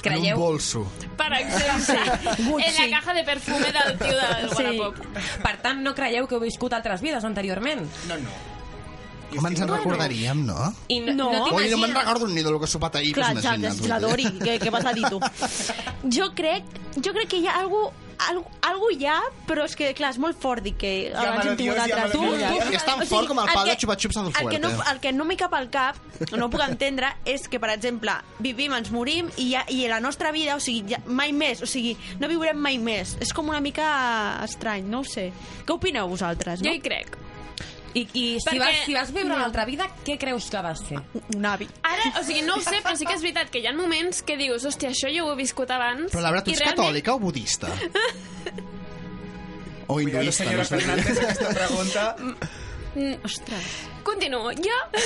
[SPEAKER 1] En un bolso.
[SPEAKER 5] Per exemple, en la caja de perfume del tio del Wallapop.
[SPEAKER 4] Per tant, no creieu que heu viscut altres vides anteriorment?
[SPEAKER 14] No, no.
[SPEAKER 1] Com ens en recordaríem, no?
[SPEAKER 4] I no,
[SPEAKER 3] No.
[SPEAKER 4] no, no
[SPEAKER 1] Oi, no me'n
[SPEAKER 4] t'imagines-
[SPEAKER 1] recordo ni del que he sopat ahir.
[SPEAKER 3] Clar,
[SPEAKER 1] pues,
[SPEAKER 3] exacte,
[SPEAKER 1] imagina't,
[SPEAKER 3] és la
[SPEAKER 1] vull
[SPEAKER 3] Dori,
[SPEAKER 1] dir.
[SPEAKER 3] que, que vas a dir tu. Jo crec, jo crec que hi ha algú Algú, algú hi ha, però és que, clar, és molt fort dir que abans hem tingut altres
[SPEAKER 1] llámalo Dios.
[SPEAKER 3] vides.
[SPEAKER 1] És tan fort com el pal
[SPEAKER 3] que-
[SPEAKER 1] de Chupa Chups al
[SPEAKER 3] El que, no,
[SPEAKER 1] Fuerte.
[SPEAKER 3] el que no m'hi cap al cap, o no ho puc entendre, és que, per exemple, vivim, ens morim, i, ja, i la nostra vida, o sigui, ja, mai més, o sigui, no viurem mai més. És com una mica estrany, no ho sé. Què opineu vosaltres, no?
[SPEAKER 5] Jo hi crec.
[SPEAKER 4] I, i si,
[SPEAKER 5] Perquè-
[SPEAKER 4] vas, si vas viure
[SPEAKER 5] no.
[SPEAKER 4] una altra vida, què creus que vas fer?
[SPEAKER 3] Un avi.
[SPEAKER 5] Ara, o sigui, no ho sé, però sí que és veritat que hi ha moments que dius, hòstia, això jo ho he viscut abans.
[SPEAKER 1] Però, Laura, tu
[SPEAKER 5] i
[SPEAKER 1] ets
[SPEAKER 5] realment-
[SPEAKER 1] catòlica o budista? O hinduista,
[SPEAKER 14] senyora
[SPEAKER 1] no sé.
[SPEAKER 14] Fernández, aquesta pregunta.
[SPEAKER 5] Mm,
[SPEAKER 3] Ostres.
[SPEAKER 5] Continuo. Jo...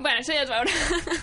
[SPEAKER 5] bueno, això ja es veurà.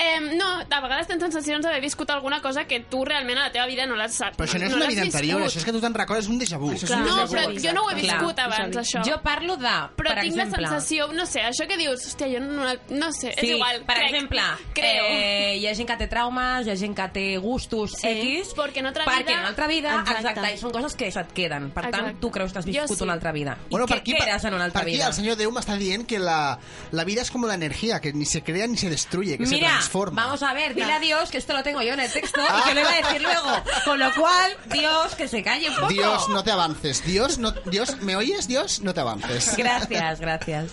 [SPEAKER 5] eh, no, de vegades tens sensacions d'haver viscut alguna cosa que tu realment a la teva vida no l'has saps.
[SPEAKER 1] Però això no és una
[SPEAKER 5] l'has
[SPEAKER 1] vida anterior,
[SPEAKER 5] viscut.
[SPEAKER 1] això és que tu te'n recordes un déjà vu.
[SPEAKER 5] No, però jo no ho he viscut abans, això.
[SPEAKER 4] Jo parlo de,
[SPEAKER 5] Però
[SPEAKER 4] per
[SPEAKER 5] tinc
[SPEAKER 4] exemple...
[SPEAKER 5] la sensació, no sé, això que dius, hòstia, jo no, no sé,
[SPEAKER 4] Sí,
[SPEAKER 5] és igual,
[SPEAKER 4] per
[SPEAKER 5] crec,
[SPEAKER 4] exemple,
[SPEAKER 5] creo.
[SPEAKER 4] eh, hi ha gent que té traumes, hi ha gent que té gustos sí, X...
[SPEAKER 5] perquè en altra
[SPEAKER 4] perquè
[SPEAKER 5] vida-
[SPEAKER 4] en altra vida, exacte.
[SPEAKER 5] Exacte.
[SPEAKER 4] i són coses que se't queden. Per tant,
[SPEAKER 5] Exacte.
[SPEAKER 4] tu creus que has
[SPEAKER 5] Jo
[SPEAKER 4] viscut
[SPEAKER 5] sí.
[SPEAKER 4] una altra vida. I
[SPEAKER 1] Bueno,
[SPEAKER 4] què
[SPEAKER 1] per aquí, per,
[SPEAKER 4] eres en una altra
[SPEAKER 1] per aquí
[SPEAKER 4] vida?
[SPEAKER 1] el senyor Déu m'està dient que la, la vida és com la energía, que ni se crea ni se destruye, que se
[SPEAKER 4] Mira,
[SPEAKER 1] transforma.
[SPEAKER 4] vamos a ver, dile a Dios que esto lo tengo yo en el texto y que lo
[SPEAKER 1] Ah.
[SPEAKER 4] iba a decir luego. Con lo cual, Dios, que se calle un poco.
[SPEAKER 1] Dios, no te avances. Dios, no, Dios, ¿me oyes? Dios, no te avances.
[SPEAKER 4] Gracias, gracias.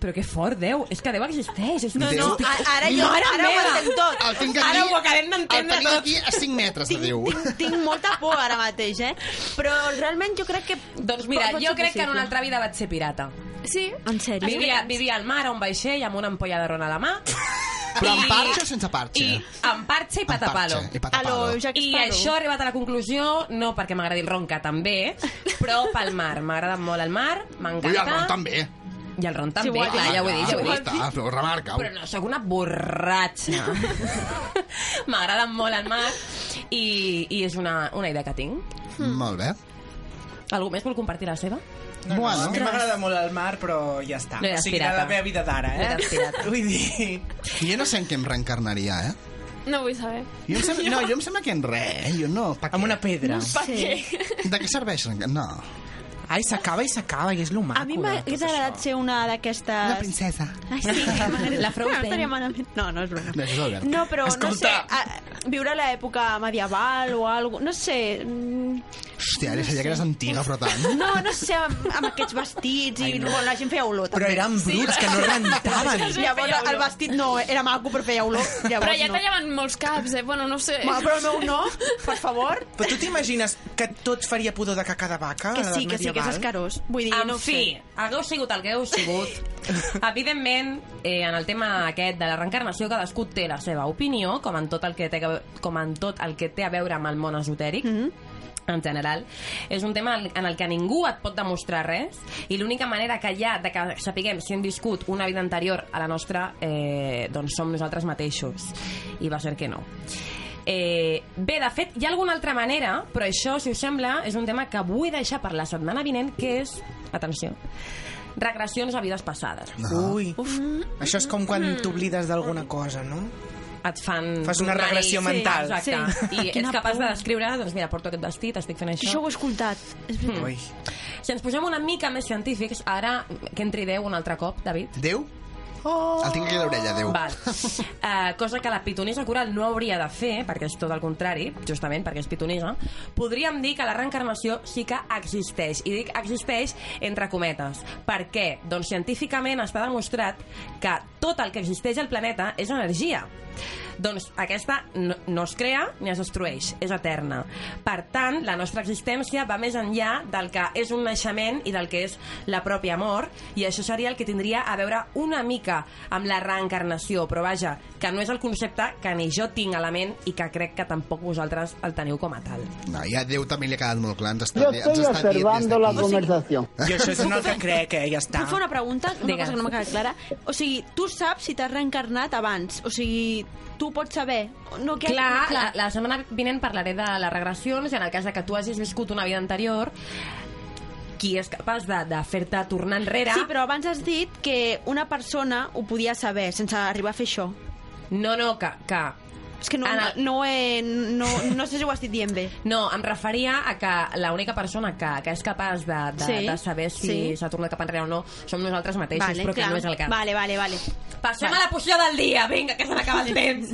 [SPEAKER 4] Però que fort, Déu. És que Déu existeix. És una...
[SPEAKER 1] Déu. No,
[SPEAKER 3] a- ara jo-
[SPEAKER 4] Mare
[SPEAKER 3] ara ho
[SPEAKER 4] meva!
[SPEAKER 3] entenc tot.
[SPEAKER 1] El tinc aquí-
[SPEAKER 3] Ara ho acabem
[SPEAKER 1] el
[SPEAKER 3] d'entendre
[SPEAKER 1] tenim
[SPEAKER 3] tot.
[SPEAKER 1] aquí a 5 metres, de
[SPEAKER 3] tinc,
[SPEAKER 1] Déu.
[SPEAKER 3] Tinc, tinc molta por ara mateix, eh? Però realment jo crec que... Doncs
[SPEAKER 4] Mira, jo crec que en una altra vida vaig ser pirata.
[SPEAKER 5] Sí?
[SPEAKER 3] En sèrio?
[SPEAKER 4] Vivia, vivia al mar, a un vaixell, amb una ampolla de ron a la mà.
[SPEAKER 1] Però amb
[SPEAKER 4] I-
[SPEAKER 1] parxa o sense parxa?
[SPEAKER 4] I amb parxa i
[SPEAKER 1] Amb parxa
[SPEAKER 4] patapalo.
[SPEAKER 1] i patapalo. A lo Jack
[SPEAKER 4] I
[SPEAKER 1] Sparrow.
[SPEAKER 4] això he arribat a la conclusió, no perquè m'agradi el ron, que també, però pel mar. M'agrada molt el mar, m'encanta.
[SPEAKER 1] Ui, el ron també.
[SPEAKER 4] I el ron també,
[SPEAKER 1] Sí, ho has
[SPEAKER 4] clar,
[SPEAKER 1] dit.
[SPEAKER 4] ja ho he dit, ja ho he
[SPEAKER 1] Ja
[SPEAKER 4] dit.
[SPEAKER 1] està, però remarca-ho.
[SPEAKER 4] Però no, sóc una borratxa. M'agrada molt el mar i, i és una, una idea que tinc.
[SPEAKER 1] Molt bé.
[SPEAKER 4] Algú més vol compartir la seva?
[SPEAKER 14] No, no, a mi m'agrada molt el mar, però ja està.
[SPEAKER 4] No
[SPEAKER 14] o
[SPEAKER 4] eres
[SPEAKER 14] sigui,
[SPEAKER 4] pirata.
[SPEAKER 14] de la meva vida d'ara,
[SPEAKER 4] No
[SPEAKER 14] eh?
[SPEAKER 4] eres pirata.
[SPEAKER 14] Vull dir...
[SPEAKER 1] Jo no sé en què em reencarnaria, eh?
[SPEAKER 5] No vull saber.
[SPEAKER 1] Jo em sembla, no, jo em sembla que en res, eh? jo no. Pa Amb
[SPEAKER 14] una pedra.
[SPEAKER 5] No sé.
[SPEAKER 1] De què serveix? reenca- No.
[SPEAKER 14] Ai, s'acaba i s'acaba, i és lo maco.
[SPEAKER 3] A mi m'hagués agradat ser una d'aquestes...
[SPEAKER 1] Ah,
[SPEAKER 3] Una princesa. Ai, sí. m'agrada-
[SPEAKER 4] La Frozen.
[SPEAKER 3] No, estaria malament. No, no és broma.
[SPEAKER 1] No, això és Albert.
[SPEAKER 3] No, però no sé,
[SPEAKER 1] Escolta.
[SPEAKER 3] a, viure l'època medieval o alguna no sé... mm,
[SPEAKER 1] Hòstia, ara ja que eres antiga, però tant.
[SPEAKER 3] No, no sé, amb, amb aquests vestits i
[SPEAKER 1] Ai, no.
[SPEAKER 3] bueno, la gent feia olor també.
[SPEAKER 1] Però eren bruts, que no rentaven.
[SPEAKER 3] Llavors
[SPEAKER 5] Feia olor.
[SPEAKER 3] el vestit no, era maco però feia olor. Llavors,
[SPEAKER 5] Però ja
[SPEAKER 3] no.
[SPEAKER 5] tallaven molts caps, eh? Bueno, no sé.
[SPEAKER 3] Ma, però el meu no, per favor.
[SPEAKER 14] Però tu t'imagines que tot faria pudor de caca de vaca?
[SPEAKER 4] Que
[SPEAKER 14] a l'edat
[SPEAKER 4] sí, que sí, que és
[SPEAKER 14] medieval?
[SPEAKER 4] escarós.
[SPEAKER 3] Vull dir,
[SPEAKER 4] Ah, en
[SPEAKER 3] no ho
[SPEAKER 4] fi,
[SPEAKER 3] sé.
[SPEAKER 4] hagueu sigut el que heu sigut. Evidentment, eh, en el tema aquest de la reencarnació, cadascú té la seva opinió, com en tot el que té, que- com en tot el que té a veure amb el món esotèric.
[SPEAKER 3] Mhm.
[SPEAKER 4] en general, és un tema en el que ningú et pot demostrar res i l'única manera que hi ha de que sapiguem si hem viscut una vida anterior a la nostra eh, doncs som nosaltres mateixos i va ser que no Eh, bé, de fet, hi ha alguna altra manera, però això, si us sembla, és un tema que vull deixar per la setmana vinent, que és, atenció, regressions a vides passades.
[SPEAKER 14] Ui, Uf. això és com quan t'oblides d'alguna cosa, no?
[SPEAKER 4] Et fan...
[SPEAKER 14] Fas una
[SPEAKER 4] tornar-hi-
[SPEAKER 14] regressió
[SPEAKER 4] Sí,
[SPEAKER 14] mental.
[SPEAKER 4] Exacte.
[SPEAKER 14] Sí.
[SPEAKER 4] I
[SPEAKER 14] Quina
[SPEAKER 4] ets capaç
[SPEAKER 14] por.
[SPEAKER 4] de descriure, doncs mira, porto aquest vestit, estic fent això.
[SPEAKER 3] Això ho he escoltat. És veritat.
[SPEAKER 14] Ui.
[SPEAKER 4] Si ens posem una mica més científics, ara que entri Déu un altre cop, David.
[SPEAKER 1] Déu?
[SPEAKER 4] Oh.
[SPEAKER 1] El tinc aquí a l'orella, Déu.
[SPEAKER 4] Val. Uh, cosa que la pitonisa coral no hauria de fer, perquè és tot el contrari, justament perquè és pitonisa, podríem dir que la reencarnació sí que existeix. I dic existeix entre cometes. Per què? Doncs científicament està demostrat que tot el que existeix al planeta és energia. Doncs aquesta no, no es crea ni es destrueix, és eterna. Per tant, la nostra existència va més enllà del que és un naixement i del que és la pròpia mort, i això seria el que tindria a veure una mica amb la reencarnació, però vaja, que no és el concepte que ni jo tinc a la ment i que crec que tampoc vosaltres el teniu com a tal.
[SPEAKER 1] No, ja a Déu també li ha quedat molt clar. Ens està,
[SPEAKER 4] Jo
[SPEAKER 1] ens està dient des d'aquí.
[SPEAKER 14] I això és un altre crec, eh? Ja està.
[SPEAKER 3] Puc fer una pregunta? Una
[SPEAKER 14] Digues.
[SPEAKER 3] cosa que no m'ha quedat clara. O sigui, tu saps si t'has reencarnat abans. O sigui, tu pots saber. No, que...
[SPEAKER 4] Clar, la, la setmana vinent parlaré de les regressions i en el cas de que tu hagis viscut una vida anterior qui és capaç de, de fer-te tornar enrere...
[SPEAKER 3] Sí, però abans has dit que una persona ho podia saber sense arribar a fer això.
[SPEAKER 4] No, no, que... que...
[SPEAKER 3] És que no,
[SPEAKER 4] Ara-
[SPEAKER 3] no, he, no, no sé si ho has dit dient bé.
[SPEAKER 4] No, em referia a que l'única persona que, que és capaç de, de,
[SPEAKER 3] Sí,
[SPEAKER 4] de saber si
[SPEAKER 3] sí.
[SPEAKER 4] s'ha tornat cap enrere o no som nosaltres mateixos, però que no és el cas.
[SPEAKER 3] Vale, vale, vale.
[SPEAKER 4] Passem
[SPEAKER 3] Vale.
[SPEAKER 4] a la poció del dia, vinga, que se n'acaba el temps.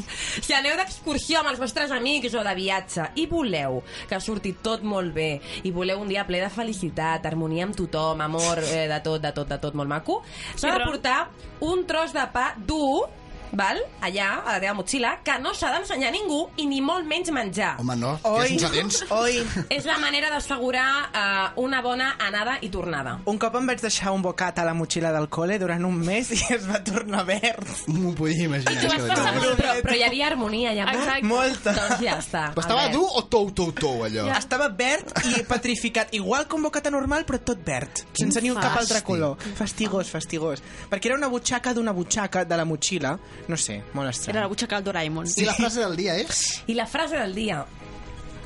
[SPEAKER 4] Si aneu d'excursió amb els vostres amics o de viatge i voleu que surti tot molt bé i voleu un dia ple de felicitat, harmonia amb tothom, amor, eh, de tot, de tot, de tot, molt maco, s'ha de portar un tros de pa dur val? allà, a la teva motxilla, que no s'ha d'ensenyar a ningú i ni molt menys menjar.
[SPEAKER 1] Home, no, que
[SPEAKER 4] Oi.
[SPEAKER 1] és sense dents.
[SPEAKER 14] Oi.
[SPEAKER 4] És la manera d'assegurar eh, una bona anada i tornada.
[SPEAKER 14] Un cop em vaig deixar un bocat a la motxilla del col·le durant un mes i es va tornar verd.
[SPEAKER 1] M'ho podia imaginar.
[SPEAKER 14] I tu vas
[SPEAKER 1] això de
[SPEAKER 14] passar
[SPEAKER 1] Déu.
[SPEAKER 14] molt
[SPEAKER 4] Però, però hi havia harmonia, hi havia...
[SPEAKER 14] Exacte. Molta.
[SPEAKER 4] Doncs ja està.
[SPEAKER 1] Però estava
[SPEAKER 4] Albert.
[SPEAKER 1] dur o tou, tou, tou, allò?
[SPEAKER 14] Ja. Estava verd i petrificat, igual que un bocata normal, però tot verd, sense ni un cap altre
[SPEAKER 1] fàstic.
[SPEAKER 14] color. Fastigós, fastigós. Perquè era una butxaca d'una butxaca de la motxilla, no sé, molt estrany.
[SPEAKER 3] Era la butxaca del Doraemon.
[SPEAKER 1] I la frase del dia és?
[SPEAKER 4] I la frase del dia...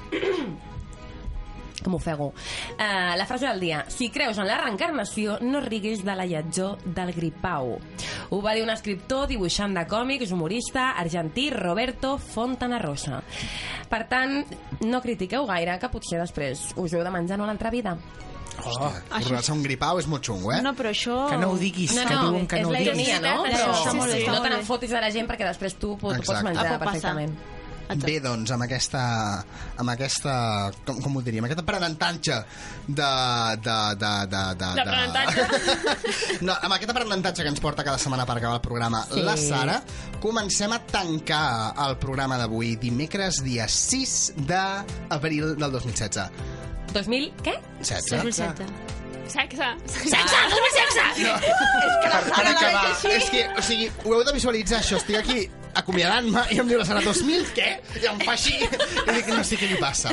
[SPEAKER 4] Com ofego. Uh, la frase del dia. Si creus en la reencarnació, no riguis de la lletjor del gripau. Ho va dir un escriptor, dibuixant de còmics, humorista, argentí, Roberto Fontana Rosa. Per tant, no critiqueu gaire, que potser després us heu de menjar en una altra vida.
[SPEAKER 1] Oh, Tornar-se un gripau és molt xungo, eh?
[SPEAKER 3] No, però això...
[SPEAKER 1] Que no ho diguis,
[SPEAKER 4] no,
[SPEAKER 1] que
[SPEAKER 4] no,
[SPEAKER 1] diuen que
[SPEAKER 4] és
[SPEAKER 1] no ho
[SPEAKER 4] la
[SPEAKER 1] diguis.
[SPEAKER 4] ironia, no?
[SPEAKER 1] Sí, sí,
[SPEAKER 4] Però
[SPEAKER 1] sí, sí,
[SPEAKER 4] no
[SPEAKER 1] sí.
[SPEAKER 4] te n'enfotis de la gent perquè després tu pot,
[SPEAKER 1] Exacte.
[SPEAKER 4] pots menjar
[SPEAKER 1] Ah, pot passar.
[SPEAKER 4] perfectament.
[SPEAKER 1] Bé, doncs, amb aquesta... Amb aquesta com, com ho diríem? Aquest aprenentatge de... de, de, de, de, no, amb aquest aprenentatge que ens porta cada setmana per acabar el programa
[SPEAKER 9] Sí.
[SPEAKER 1] la Sara, comencem a tancar el programa d'avui, dimecres dia 6 d'abril del 2016.
[SPEAKER 4] 2000, què?
[SPEAKER 1] 16. 2016.
[SPEAKER 5] Sexe.
[SPEAKER 4] Sexe, dona sexe!
[SPEAKER 1] No.
[SPEAKER 5] És
[SPEAKER 1] Per, per acabar, és que, o sigui, ho heu de visualitzar, això. Estic aquí acomiadant-me i em diu la Sara 2000, què? I em fa així. I dic, no sé què li passa.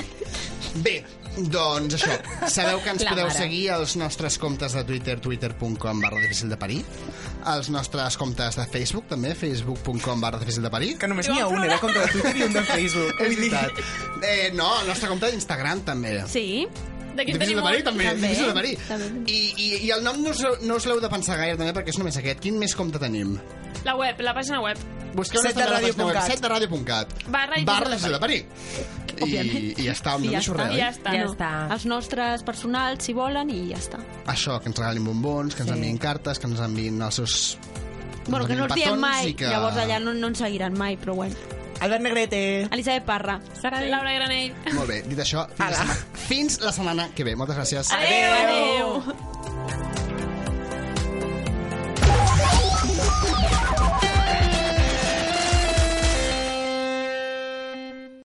[SPEAKER 1] Bé, doncs això, sabeu que ens
[SPEAKER 14] La
[SPEAKER 1] podeu
[SPEAKER 14] mare.
[SPEAKER 1] seguir als nostres comptes de Twitter, twitter.com barra difícil de parir, als nostres comptes de Facebook, també, facebook.com barra difícil de parir. Que
[SPEAKER 14] només n'hi ha un, era compte de Twitter i un de Facebook.
[SPEAKER 1] És veritat. Eh, no, el nostre compte d'Instagram, també.
[SPEAKER 3] Sí.
[SPEAKER 1] Difícil de parir, també. Difícil de parir. I, i, I el nom no us, no us l'heu de pensar gaire, també, perquè és només aquest. Quin més compte tenim?
[SPEAKER 5] La web, la pàgina web.
[SPEAKER 1] Busqueu
[SPEAKER 5] Set de radio punt cat.
[SPEAKER 1] 7 de radio.cat.
[SPEAKER 5] Barra i
[SPEAKER 1] Barra
[SPEAKER 5] difícil
[SPEAKER 1] de
[SPEAKER 5] de
[SPEAKER 1] parir. I,
[SPEAKER 3] Òbviament.
[SPEAKER 1] I ja està,
[SPEAKER 3] I
[SPEAKER 1] no
[SPEAKER 3] ja
[SPEAKER 1] deixo
[SPEAKER 3] està.
[SPEAKER 1] res, oi?
[SPEAKER 3] No. Els nostres personals, si volen, i ja està.
[SPEAKER 1] Això, que ens regalin bombons, que ens
[SPEAKER 3] Sí.
[SPEAKER 1] enviïn cartes, que ens enviïn els seus...
[SPEAKER 3] Bueno, que no els diem
[SPEAKER 1] petons
[SPEAKER 3] mai,
[SPEAKER 1] i que-
[SPEAKER 3] llavors allà no, no ens seguiran mai, però bueno.
[SPEAKER 2] Albert Negrete.
[SPEAKER 3] Elisabet Parra. Sara
[SPEAKER 5] Laura Granell.
[SPEAKER 1] Molt bé, dit això, fins, la setmana, fins la setmana que ve. Moltes gràcies.
[SPEAKER 5] Adéu. Adéu.